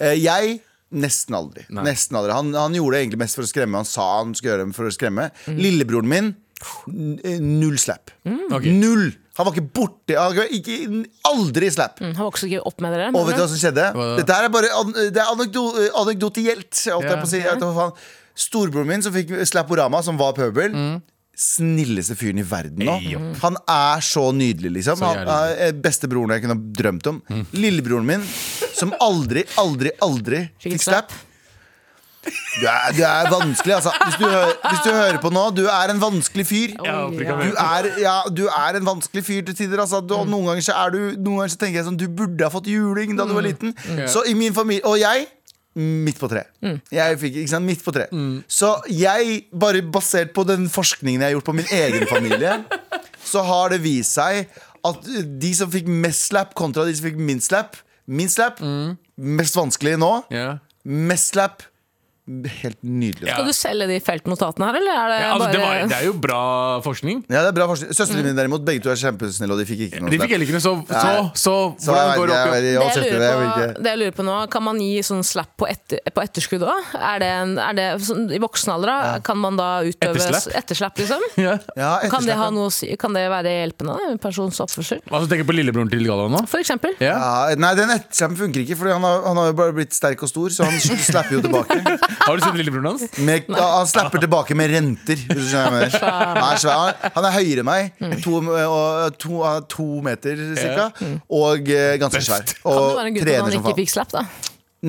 [SPEAKER 3] Eh, jeg nesten aldri. Nesten aldri. Han, han gjorde det egentlig mest for å skremme. Han sa han skulle gjøre det for å skremme. Lillebroren min, n- eh, null slap.
[SPEAKER 4] Ok.
[SPEAKER 3] Null! Han var ikke borti han var ikke, Aldri slap.
[SPEAKER 2] Mm, Han vokste ikke opp med dere. eh,
[SPEAKER 3] Og vet du hva som skjedde?
[SPEAKER 4] Hva da?
[SPEAKER 3] Dette her er bare an, det er anekdo, eh, anekdotielt. Holdt jeg på å si. Jeg vet hva faen. Storebroren min, som fikk slaporama, som var pøbel. Snilleste fyren i verden nå.
[SPEAKER 4] Ja.
[SPEAKER 3] Han er så nydelig, liksom.
[SPEAKER 4] Så
[SPEAKER 3] Han
[SPEAKER 4] jævlig.
[SPEAKER 3] er bestebroren jeg kunne ha drømt om. Lillebroren min, som aldri, aldri, aldri
[SPEAKER 2] Fikk
[SPEAKER 3] fikk slap. Du er, du er vanskelig, altså. Hvis du, hører, hvis du hører på nå, du er en vanskelig fyr.
[SPEAKER 4] Ja,
[SPEAKER 2] Oi,
[SPEAKER 4] Afrika,
[SPEAKER 2] ja.
[SPEAKER 4] men- Mm.
[SPEAKER 3] Du er, ja, du er en vanskelig fyr til tider. Altså. Du, noen, ganger så er du, noen ganger så tenker jeg sånn Du burde ha fått juling da du
[SPEAKER 4] Mm.
[SPEAKER 3] var liten. Så i min familie Og jeg midt på tre.
[SPEAKER 4] Mm.
[SPEAKER 3] Jeg fikk, ikke sant, midt på tre. Så jeg, bare basert på den forskningen jeg har gjort på min egen familie,
[SPEAKER 4] [laughs]
[SPEAKER 3] så har det vist seg at de som fikk mest slap kontra de som fikk minst slap Min slap, mest vanskelig nå.
[SPEAKER 4] Mm. Ja.
[SPEAKER 3] Mest slap, helt nydelig.
[SPEAKER 4] Ja.
[SPEAKER 2] Skal du selge de feltnotatene her, eller er det
[SPEAKER 4] Ja, altså, det, var,
[SPEAKER 2] bare
[SPEAKER 4] det er jo bra forskning.
[SPEAKER 3] Ja, det er bra forskning. Søstrene mine derimot, begge to er kjempesnille, og de fikk ikke noe
[SPEAKER 4] De fikk
[SPEAKER 3] slap.
[SPEAKER 4] heller ikke noe, så,
[SPEAKER 3] Nei.
[SPEAKER 4] så, så,
[SPEAKER 3] Så
[SPEAKER 4] hvordan går det opp?
[SPEAKER 3] jeg,
[SPEAKER 4] igjen?
[SPEAKER 3] jeg,
[SPEAKER 2] det jeg,
[SPEAKER 3] jeg,
[SPEAKER 2] lurer
[SPEAKER 3] jeg,
[SPEAKER 2] på,
[SPEAKER 3] jeg,
[SPEAKER 2] det jeg lurer på nå, kan man gi sånn slap på, etter, på etterskudd òg? Er det, en, er det sånn, I voksen alder, da, kan man da utøve
[SPEAKER 4] Etterslap?
[SPEAKER 2] etterslap, liksom?
[SPEAKER 4] Ja.
[SPEAKER 3] ja,
[SPEAKER 2] Kan det,
[SPEAKER 3] etterslap,
[SPEAKER 2] ha
[SPEAKER 3] ja.
[SPEAKER 2] noe, å si- kan det være hjelpende? En persons oppførsel?
[SPEAKER 4] Altså, tenker på lillebroren til Galvan nå?
[SPEAKER 2] For eksempel.
[SPEAKER 4] Ja.
[SPEAKER 3] Ja, nei, den etterslappen funker ikke, for han, har- han har jo bare blitt sterk og stor, så han slapper jo tilbake.
[SPEAKER 4] Har du sett lillebroren hans?
[SPEAKER 2] [laughs]
[SPEAKER 3] Med, ja, han slapper tilbake med renter, hvis du skjønner hva jeg mener. Han er, svær. Han- han er høyere enn meg.
[SPEAKER 2] Mm.
[SPEAKER 3] To, og, to, han er to meter cirka. Og eh, ganske svær.
[SPEAKER 2] Kan Mm. det
[SPEAKER 3] Og
[SPEAKER 2] være en grunn til at
[SPEAKER 3] trener
[SPEAKER 2] han
[SPEAKER 3] som
[SPEAKER 2] ikke
[SPEAKER 3] faen.
[SPEAKER 2] fikk slap, da?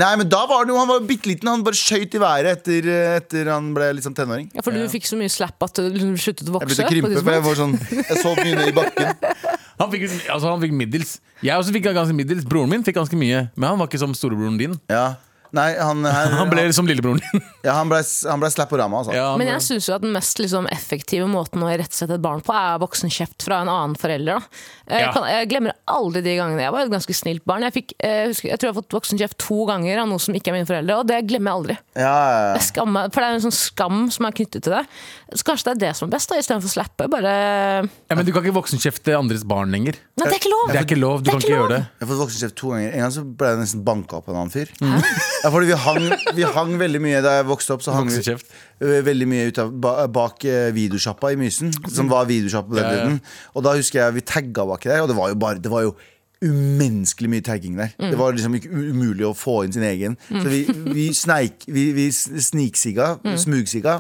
[SPEAKER 3] Nei, men da var han jo Han var jo bitte liten. Han bare skøyt i været etter, etter han ble liksom tenåring.
[SPEAKER 2] Ja, for du fikk så mye slap at du liksom sluttet å
[SPEAKER 3] Jeg
[SPEAKER 2] vokse?
[SPEAKER 3] begynte
[SPEAKER 2] på et
[SPEAKER 3] å krympe, for jeg
[SPEAKER 2] tidspunkt.
[SPEAKER 3] var sånn Jeg så mye ned i bakken.
[SPEAKER 4] Han fikk, altså, han fikk middels. Jeg også fikk ganske middels. Broren min fikk ganske mye, men han var ikke som storebroren din.
[SPEAKER 3] Ja. Nei, han her
[SPEAKER 4] Han ble som lillebroren din.
[SPEAKER 3] ja, han ble, han ble slapporama, altså.
[SPEAKER 4] [laughs] Ja, han-
[SPEAKER 2] Men jeg syns jo at den mest liksom, effektive måten å irettesette et barn på, er voksenkjeft fra en annen forelder. Da. Eh,
[SPEAKER 4] Ja.
[SPEAKER 2] Jeg, kan, jeg glemmer aldri de gangene. Jeg var et ganske snilt barn. Jeg, fikk, eh, husker, jeg tror jeg har fått voksenkjeft to ganger av noe som ikke er mine foreldre, og det glemmer jeg aldri.
[SPEAKER 3] Ja, ja, ja.
[SPEAKER 2] Jeg skammer, for det er jo en sånn skam som er knyttet til det. Så kanskje det er det som er best, da, istedenfor å slappe. Bare
[SPEAKER 4] ja, men du kan ikke voksenkjefte andres barn lenger.
[SPEAKER 2] Nei, det er ikke lov!
[SPEAKER 4] Det er ikke lov. Du
[SPEAKER 2] Det er
[SPEAKER 4] kan
[SPEAKER 2] ikke
[SPEAKER 4] ikke
[SPEAKER 2] lov.
[SPEAKER 4] gjøre det.
[SPEAKER 3] Jeg har fått voksenkjeft to ganger. En gang så ble jeg nesten banka opp av en annen fyr. Ja, fordi vi hang, vi hang veldig mye da jeg vokste opp. Så hang vi
[SPEAKER 4] Voksenkjeft.
[SPEAKER 3] eh, veldig mye ut av, ba- bak eh, videosjappa i Mysen, som var videosjappa på den
[SPEAKER 4] Ja, ja.
[SPEAKER 3] tiden. Og da husker jeg vi tagga baki der, og det var jo bare det var jo Umenneskelig mye tagging der.
[SPEAKER 4] Mm.
[SPEAKER 3] Det var liksom ikke u- umulig å få inn sin egen. Så vi, vi, sneik, vi, vi s- sniksigga,
[SPEAKER 4] Mm.
[SPEAKER 3] smugsigga,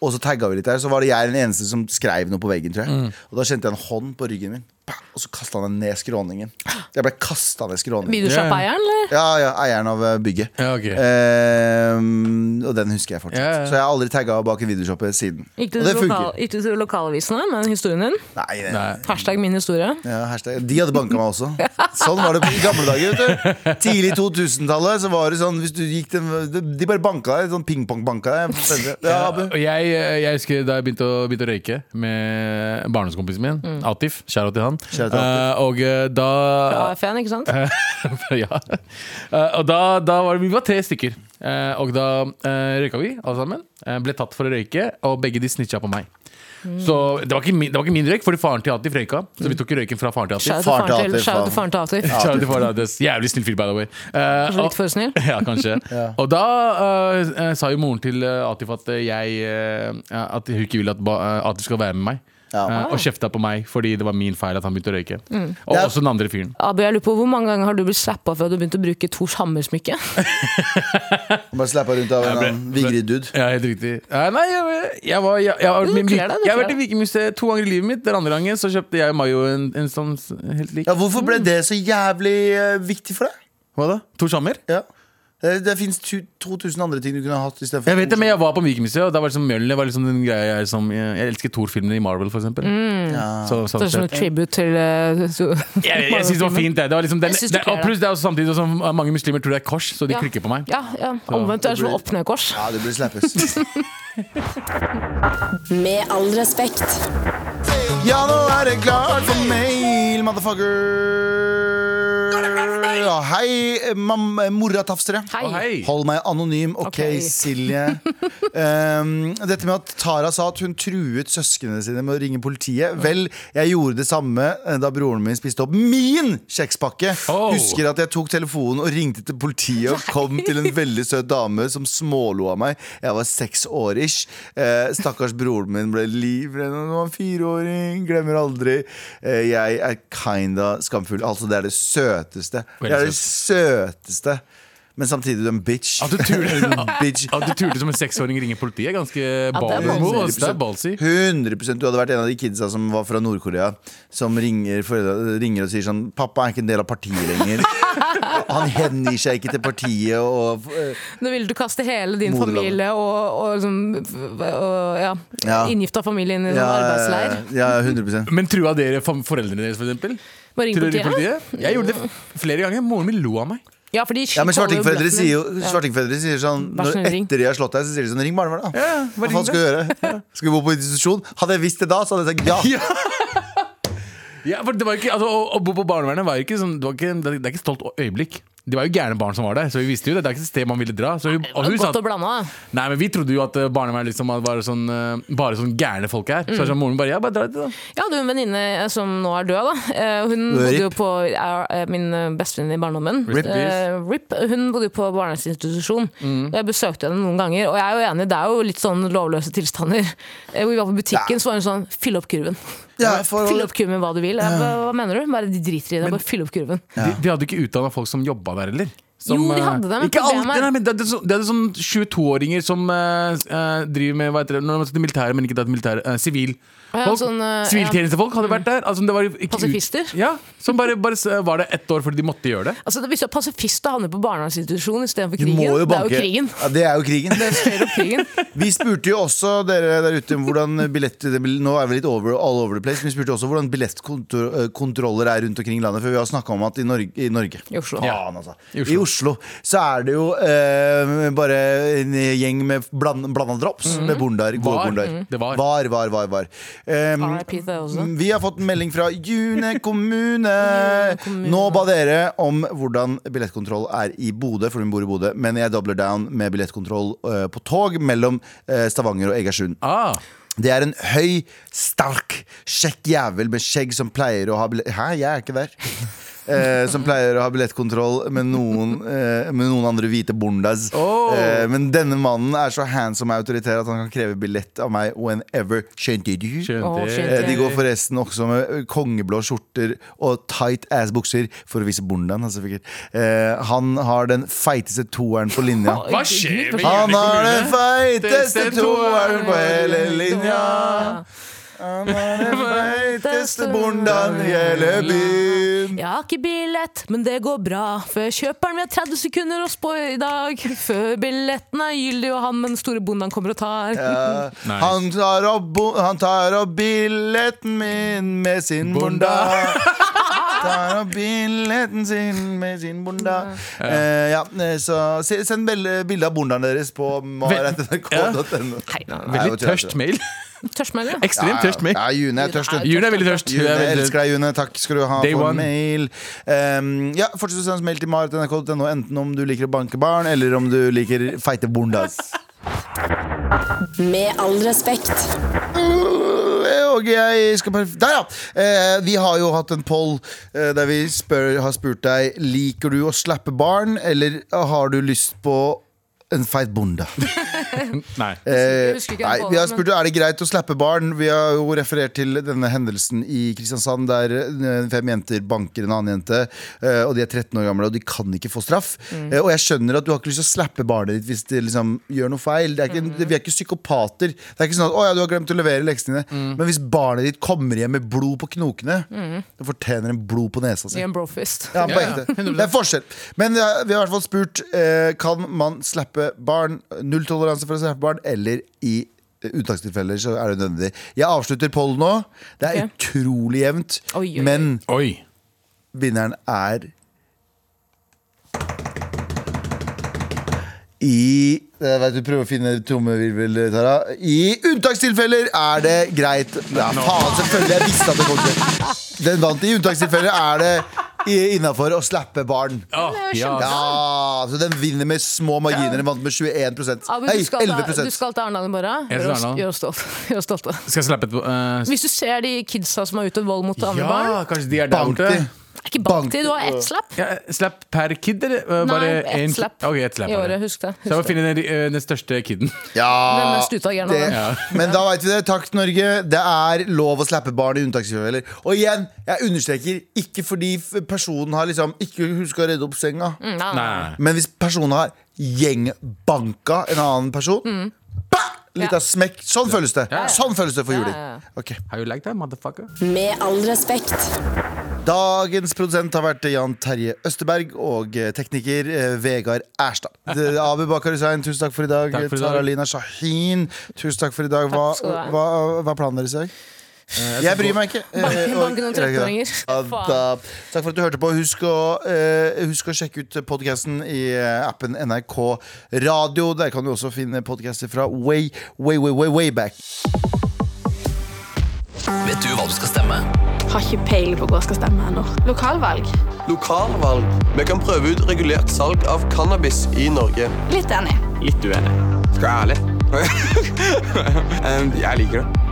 [SPEAKER 3] og så tagga vi litt der. Så var det jeg den eneste som skrev noe på veggen, tror
[SPEAKER 4] Mm.
[SPEAKER 3] jeg. Og da kjente jeg en hånd på ryggen min, Pow! og så kasta han den ned skråningen. Jeg ble kasta ned skråningen.
[SPEAKER 2] Videosjappa-eieren, eller?
[SPEAKER 3] Ja, ja, eieren av eh, bygget.
[SPEAKER 4] Ja, ok.
[SPEAKER 3] Ehm, og den husker jeg fortsatt.
[SPEAKER 4] Ja, ja, ja.
[SPEAKER 3] Så jeg har aldri tagga bak i videoshoppet siden.
[SPEAKER 2] Gikk du
[SPEAKER 3] og det
[SPEAKER 2] til lokal,
[SPEAKER 3] funker.
[SPEAKER 2] gikk du til lokalavisen da, med den historien din?
[SPEAKER 3] Nei, det,
[SPEAKER 4] Nei.
[SPEAKER 2] Hashtag min historie.
[SPEAKER 3] ja, hashtag. De hadde banka meg
[SPEAKER 2] [laughs]
[SPEAKER 3] også. Sånn var det i gamle dager. vet du Tidlig 2000-tallet så var det sånn hvis du gikk til, De bare banka deg. Sånn pingpong-banka
[SPEAKER 4] [laughs]
[SPEAKER 3] deg. Ja, Abu.
[SPEAKER 4] Og jeg, eh, jeg husker da jeg begynte å, begynte å røyke med barndomskompisen min,
[SPEAKER 2] Mm.
[SPEAKER 4] Atif. Kjære til han.
[SPEAKER 3] Shout out til Atif.
[SPEAKER 4] Eh, og eh, da
[SPEAKER 2] AFN, ikke sant?
[SPEAKER 4] [laughs] ja. Eh, og da, da var det, vi var tre stykker. Eh, og da eh, røyka vi alle sammen. Eh, ble tatt for å røyke, og begge de snitcha på meg.
[SPEAKER 2] Mm.
[SPEAKER 4] Så det var, ikke min, det var ikke min røyk, fordi faren til Atif røyka. Så vi tok ikke røyken fra faren til Atif.
[SPEAKER 2] Shout
[SPEAKER 3] Faren
[SPEAKER 2] out til
[SPEAKER 3] til
[SPEAKER 2] faren
[SPEAKER 3] Atif,
[SPEAKER 2] til- shout out til faren
[SPEAKER 3] faen.
[SPEAKER 2] til Atif.
[SPEAKER 4] Shout out til faren til Atif. Jævlig snill fyr, by the way. Eh,
[SPEAKER 2] Kanskje
[SPEAKER 4] og-
[SPEAKER 2] litt for snill?
[SPEAKER 4] [laughs] ja, kanskje.
[SPEAKER 2] [laughs]
[SPEAKER 4] Og da eh, eh, sa jo moren til eh, Atif at eh, jeg eh, At hun ikke vil at ba, eh, Atif skal være med meg.
[SPEAKER 3] Ja.
[SPEAKER 4] Eh, og kjefta på meg fordi det var min feil at han begynte å røyke. Og
[SPEAKER 2] Mm.
[SPEAKER 3] Det er-
[SPEAKER 4] også den andre fyren.
[SPEAKER 2] Abu, jeg lurer på Hvor mange ganger har du blitt slappa for at du begynte å bruke Tors hammersmykke?
[SPEAKER 3] Og Bare slappa rundt av en
[SPEAKER 4] ble-
[SPEAKER 3] annen Vigrid dude.
[SPEAKER 4] Ja, helt riktig. Eh, nei, jeg, jeg, var, jeg, jeg, har vært
[SPEAKER 2] Du
[SPEAKER 4] med-
[SPEAKER 2] kler deg, du
[SPEAKER 4] jeg
[SPEAKER 2] kler
[SPEAKER 4] har vært i Vikemuseet to ganger i livet mitt. Den andre gangen så kjøpte jeg og Mayo en, en sånn s- helt lik.
[SPEAKER 3] Ja, hvorfor ble det så jævlig eh, viktig for deg?
[SPEAKER 4] Hva da? To sammer?
[SPEAKER 3] Ja. Det, det fins 2000 andre ting du kunne hatt istedenfor
[SPEAKER 4] Jeg vet det, men jeg var på Vikemuseet, og da var liksom Mjølner var liksom den greia jeg som Jeg, jeg elsker Thor-filmene i Marvel, for eksempel.
[SPEAKER 2] Mm.
[SPEAKER 4] Så,
[SPEAKER 2] Det
[SPEAKER 4] sånn
[SPEAKER 2] er som
[SPEAKER 4] sett.
[SPEAKER 2] et tribute til eh, så-
[SPEAKER 4] Jeg, jeg, jeg synes det var fint, det. det, var liksom den,
[SPEAKER 2] Jeg synes du
[SPEAKER 4] det
[SPEAKER 2] kler
[SPEAKER 4] og
[SPEAKER 2] deg.
[SPEAKER 4] pluss det er også samtidig som mange muslimer tror det er kors, så de
[SPEAKER 2] Ja.
[SPEAKER 4] klikker på meg.
[SPEAKER 2] Ja, ja. Omvendt. Det er som opp-ned-kors.
[SPEAKER 3] Ja, du burde slappes.
[SPEAKER 4] [laughs]
[SPEAKER 1] Med all respekt.
[SPEAKER 3] Ja, nå er det klart for mail, motherfucker. Ja, hei, mam- moratafsere.
[SPEAKER 2] Hei.
[SPEAKER 4] Å, hei.
[SPEAKER 3] Hold meg anonym, OK,
[SPEAKER 2] Ok.
[SPEAKER 3] Silje. Um, dette med at Tara sa at hun truet søsknene sine med å ringe politiet. Vel, jeg gjorde det samme eh, da broren min spiste opp min kjekspakke.
[SPEAKER 4] Oh.
[SPEAKER 3] Husker at jeg tok telefonen og ringte til politiet og kom til en veldig søt dame som smålo av meg. Jeg var seks år ish. Eh, stakkars broren min ble livredd da han var fireåring. Glemmer aldri. Eh, jeg er kinda skamfull. Altså, det er det søteste.
[SPEAKER 4] Veldig
[SPEAKER 3] Det er det søteste. Men samtidig du er en bitch.
[SPEAKER 4] At du turte
[SPEAKER 3] bitch.
[SPEAKER 4] At du turte som en seksåring ringe politiet, er ganske ballsy.
[SPEAKER 2] ballsy.
[SPEAKER 4] Wow, det er ballsy.
[SPEAKER 3] 100 Du hadde vært en av de kidsa som var fra Nord-Korea, som ringer, foreldre, ringer og sier sånn 'Pappa er ikke en del av partiet lenger'. Han hengir seg ikke til partiet og eh,
[SPEAKER 2] Nå ville du kaste hele din
[SPEAKER 3] Moderlandet.
[SPEAKER 2] familie og, og, sånn, f- og ja,
[SPEAKER 3] Ja.
[SPEAKER 2] inngifta familie inn i en
[SPEAKER 3] ja,
[SPEAKER 2] arbeidsleir.
[SPEAKER 3] ja, 100
[SPEAKER 4] Men trua dere fam- foreldrene deres, for eksempel?
[SPEAKER 2] Må ringe
[SPEAKER 4] Tror dere
[SPEAKER 2] politiet?
[SPEAKER 4] politiet? Jeg gjorde det f- flere ganger. Moren min lo av meg.
[SPEAKER 2] Ja, for de
[SPEAKER 3] Ja, men
[SPEAKER 2] kaller jo
[SPEAKER 3] Svartingforeldre
[SPEAKER 2] bøttene-
[SPEAKER 3] sier jo
[SPEAKER 2] Ja.
[SPEAKER 3] svartingforeldre sier sånn
[SPEAKER 2] Vær så
[SPEAKER 3] når,
[SPEAKER 2] snill, ring.
[SPEAKER 3] Etter de har slått deg, så sier de sånn 'Ring barnevernet', da.
[SPEAKER 4] Ja,
[SPEAKER 3] Hva
[SPEAKER 4] bare
[SPEAKER 3] faen
[SPEAKER 4] ring
[SPEAKER 3] skal du gjøre? Skal vi bo på institusjon? Hadde jeg visst det da, så hadde jeg sagt ja.
[SPEAKER 4] Ja, for det var ikke, altså, å, å bo på barnevernet var ikke sånn, det, var ikke, det er ikke et stolt øyeblikk. De var jo gærne barn som var der, så vi visste jo det. Det er ikke et sted man ville dra. Så vi,
[SPEAKER 2] Det
[SPEAKER 4] og
[SPEAKER 2] var
[SPEAKER 4] hun sa
[SPEAKER 2] Godt å blande, da.
[SPEAKER 4] Nei, men vi trodde jo at eh, barnevern liksom at var sånn, eh, bare sånn gærne folk her.
[SPEAKER 2] Mm.
[SPEAKER 4] Så er det sånn, moren bare ja, bare dra dit, da.
[SPEAKER 2] Jeg hadde jo en venninne eh, som nå er død. da Eh, Hun bodde jo på er, eh, min bestevenninne i barndommen.
[SPEAKER 4] Rip,
[SPEAKER 2] Eh, Rip. Hun bodde jo på barnevernsinstitusjon.
[SPEAKER 3] Mm.
[SPEAKER 2] Og Jeg besøkte henne noen ganger, og jeg er jo enig, det er jo litt sånn lovløse tilstander. Eh, Hvor vi var på butikken, så var hun sånn Fyll opp kurven.
[SPEAKER 3] Ja, for-
[SPEAKER 2] Fyll opp kurven med hva du vil. Jeg, bare, hva mener du? Bare De driter i det. Bare fyll opp kurven.
[SPEAKER 4] De, de hadde ikke utdanna folk som jobba der heller. Som,
[SPEAKER 2] Jo, de
[SPEAKER 4] eh,
[SPEAKER 2] hadde det, men
[SPEAKER 4] ikke
[SPEAKER 2] problemet
[SPEAKER 4] alltid,
[SPEAKER 2] er-
[SPEAKER 4] nei, men det, det, er så- det er sånn 22-åringer som eh, s- eh, driver med hva heter det, når de er til militæret, men ikke til militæret. eh, Sivil.
[SPEAKER 2] Ja,
[SPEAKER 4] folk,
[SPEAKER 2] sånn, eh,
[SPEAKER 4] Siviltjenestefolk hadde vært der. Altså, det var, jo ikke ut-
[SPEAKER 2] Pasifister?
[SPEAKER 4] Ja, som bare, bare s- eh, var der ett år fordi de måtte gjøre det.
[SPEAKER 2] Altså, Hvis du er pasifist og havner på barnevernsinstitusjon istedenfor
[SPEAKER 3] Du
[SPEAKER 2] krigen,
[SPEAKER 3] må jo
[SPEAKER 2] det er
[SPEAKER 3] banke.
[SPEAKER 2] jo krigen.
[SPEAKER 3] Ja, det er jo krigen.
[SPEAKER 2] Det er jo krigen.
[SPEAKER 3] [laughs] Vi spurte jo også dere der ute om hvordan billett Nå er vi litt over, all over the place men Vi spurte også hvordan billettkontroller er rundt omkring i landet For vi har snakket om at i Norge, i, Norge,
[SPEAKER 2] I Oslo.
[SPEAKER 3] Faen, altså.
[SPEAKER 4] I
[SPEAKER 3] I,
[SPEAKER 4] Oslo.
[SPEAKER 3] Oslo. Så er det jo eh, bare en gjeng med bland, blanda
[SPEAKER 2] Mm.
[SPEAKER 3] drops Med bondar, gode
[SPEAKER 4] Var.
[SPEAKER 3] bondar
[SPEAKER 4] Mhm. Det var.
[SPEAKER 3] Var, var, var, var Ehm, Em,
[SPEAKER 2] R.I.P. det også.
[SPEAKER 3] Mm, vi har fått en melding fra June kommune. Nå ba dere om hvordan billettkontroll er i Bodø, for hun bor i Bodø. Men jeg dobler down med billettkontroll eh, på tog mellom eh, Stavanger og Egersund.
[SPEAKER 4] Ah,
[SPEAKER 3] Det er en høy, sterk, kjekk jævel med skjegg som pleier å ha billett... Hæ, jeg er ikke der. Eh, som pleier å ha billettkontroll med noen, eh, med noen andre hvite bondas.
[SPEAKER 4] Oh.
[SPEAKER 3] Eh, men denne mannen er så handsome og autoritær at han kan kreve billett av meg whenever. Skjønte du?
[SPEAKER 4] skjønte.
[SPEAKER 2] Å, skjønte.
[SPEAKER 3] Eh, De går forresten også med kongeblå skjorter og tight ass-bukser for å vise bondaen. Altså, sikkert. eh, han har den feiteste toeren på linja.
[SPEAKER 4] Hva skjer med
[SPEAKER 3] Han
[SPEAKER 4] Jæren
[SPEAKER 3] har den
[SPEAKER 4] kommune?
[SPEAKER 3] feiteste toeren på hele linja. Han har den [laughs] feiteste bondaen i hele byen.
[SPEAKER 2] Jeg har ikke billett, men det går bra. Før kjøperen ved 30 sekunder å spå i dag. Før billetten er gyldig, og han med den store bonden kommer og tar.
[SPEAKER 3] Ja. Han tar opp, bo- han tar opp billetten min med sin bonda. Tar opp billetten sin med sin bonda. Eh, ja, eh, så se- send bel- bilde av bondaen deres på maret.nrk.no.
[SPEAKER 2] Hei, nei, nei.
[SPEAKER 4] Veldig tørst mail.
[SPEAKER 2] Tørsmelding, ja.
[SPEAKER 4] Ekstremt tørst mail.
[SPEAKER 3] Ja, June er tørst. nå.
[SPEAKER 4] June er veldig tørst. Hun
[SPEAKER 3] June,
[SPEAKER 4] er
[SPEAKER 3] jeg
[SPEAKER 4] veldig-
[SPEAKER 3] elsker deg, June. Takk skal du ha
[SPEAKER 4] Day
[SPEAKER 3] for
[SPEAKER 4] one.
[SPEAKER 3] mail. Um, ja, Fortsett å sende oss mail til maret.nrk.no, enten om du liker å banke barn, eller om du liker feite bondas.
[SPEAKER 1] Med all respekt.
[SPEAKER 3] Øh, Og jeg skal bare Der, ja! Eh, vi har jo hatt en poll eh, der vi spør, har spurt deg Liker du å slappe barn, eller har du lyst på en feit bonde?
[SPEAKER 4] Nei.
[SPEAKER 2] Jeg
[SPEAKER 3] Eh,
[SPEAKER 2] husker ikke
[SPEAKER 3] nei,
[SPEAKER 2] den
[SPEAKER 3] vi har
[SPEAKER 2] pollen,
[SPEAKER 3] spurt er det greit å slappe barn. Vi har jo referert til denne hendelsen i Kristiansand der eh, fem jenter banker en annen jente. eh, Og de er 13 år gamle og de kan ikke få straff.
[SPEAKER 2] Mm.
[SPEAKER 3] Eh, Og jeg skjønner at du har ikke lyst til å slappe barnet ditt hvis det liksom gjør noe feil. Det er ikke, en-
[SPEAKER 2] Mm.
[SPEAKER 3] Vi er ikke psykopater. Det er ikke sånn at 'Å ja, du har glemt å levere leksene dine'.
[SPEAKER 2] Mm.
[SPEAKER 3] Men hvis barnet ditt kommer hjem med blod på knokene, det fortjener en blod på nesa si.
[SPEAKER 2] I en brofist.
[SPEAKER 3] Ja, på
[SPEAKER 4] Ja, ja.
[SPEAKER 3] ekte. Det er forskjell. Men vi har, vi har i hvert fall spurt eh, Kan man slappe barn. Nulltoleranse for å slappe barn, eller i eh, unntakstilfeller så er det nødvendig. Jeg avslutter pollen nå. Det er
[SPEAKER 2] Ok.
[SPEAKER 3] utrolig jevnt,
[SPEAKER 2] Oi, oi, oi.
[SPEAKER 3] men
[SPEAKER 4] Oi.
[SPEAKER 3] vinneren er I jeg vet du prøver å finne trommevirvel, Tara. I unntakstilfeller er det greit. Ja, faen, selvfølgelig. Jeg visste at det kom til. Den vant. I unntakstilfeller er det innafor å slappe barn.
[SPEAKER 4] Ah, ja.
[SPEAKER 3] Ja, så den vinner med små marginer. Den vant med 21
[SPEAKER 2] Abu,
[SPEAKER 3] Nei,
[SPEAKER 2] du skal,
[SPEAKER 3] 11
[SPEAKER 2] til, du skal til Arendal i morgen.
[SPEAKER 4] Jeg skal til
[SPEAKER 2] Gjør oss-
[SPEAKER 4] Arendal.
[SPEAKER 2] Gjør oss stolte. Gjør oss stolte.
[SPEAKER 4] Skal jeg slappe et eh,
[SPEAKER 2] Hvis du ser de kidsa som har utøvd vold mot andre
[SPEAKER 4] Ja,
[SPEAKER 2] barn,
[SPEAKER 4] kanskje de er der
[SPEAKER 3] Bank
[SPEAKER 4] borte.
[SPEAKER 3] de.
[SPEAKER 2] er ikke bank
[SPEAKER 3] bank-
[SPEAKER 2] til, du har ett slapp.
[SPEAKER 4] Ja, slapp per kid, eller? Eh, bare
[SPEAKER 2] Nei, ett
[SPEAKER 4] en-
[SPEAKER 2] slapp.
[SPEAKER 4] Ok, ett slapp
[SPEAKER 2] I
[SPEAKER 4] bare.
[SPEAKER 2] året, husk det.
[SPEAKER 4] Så jeg må
[SPEAKER 2] Husk det.
[SPEAKER 4] finne den, eh, den største kiden.
[SPEAKER 2] Den
[SPEAKER 3] Ja,
[SPEAKER 2] mest utagerende.
[SPEAKER 3] det-
[SPEAKER 2] Ja.
[SPEAKER 3] Men da veit vi det. Takk, Norge. Det er lov å slappe barn i unntakstilfeller. Og igjen, jeg understreker ikke fordi f- personen har liksom ikke huska å redde opp senga.
[SPEAKER 2] Mm, nei, nei.
[SPEAKER 3] Men hvis personen har gjengbanka en annen person bah! Litt
[SPEAKER 2] Mm. Ja.
[SPEAKER 3] av smekk. Sånn føles det. Sånn føles det for
[SPEAKER 2] Ja,
[SPEAKER 3] juling.
[SPEAKER 2] ja, ja.
[SPEAKER 3] Ok.
[SPEAKER 4] How you like that, motherfucker?
[SPEAKER 1] Med all respekt.
[SPEAKER 3] Dagens produsent har vært Jan Terje Østerberg og eh, tekniker eh, Vegard Erstad. Det- Abu Bakar Hussein, tusen takk for i dag.
[SPEAKER 4] Takk for i dag.
[SPEAKER 3] Tara Lina Shahin, tusen takk for i dag. Hva,
[SPEAKER 2] skal du ha.
[SPEAKER 3] hva, hva er planen deres i dag? Jeg bryr meg ikke. Eh,
[SPEAKER 2] Banken-
[SPEAKER 3] og-
[SPEAKER 2] banken om
[SPEAKER 3] jeg gjør ikke det.
[SPEAKER 2] 13-åringer.
[SPEAKER 3] Ja,
[SPEAKER 2] Faen.
[SPEAKER 3] da. Takk for at du hørte på. Husk å, eh, husk å sjekke ut podkasten i eh, appen NRK Radio. Der kan du også finne podkaster fra way, way, way, way, way back.
[SPEAKER 7] Vet du hva du skal stemme?
[SPEAKER 8] Har ikke peiling på hva jeg skal stemme ennå. Lokalvalg?
[SPEAKER 9] Lokalvalg. Vi kan prøve ut regulert salg av cannabis i Norge.
[SPEAKER 8] Litt enig.
[SPEAKER 10] Litt uenig.
[SPEAKER 9] Skal jeg være ærlig? Em, jeg liker det.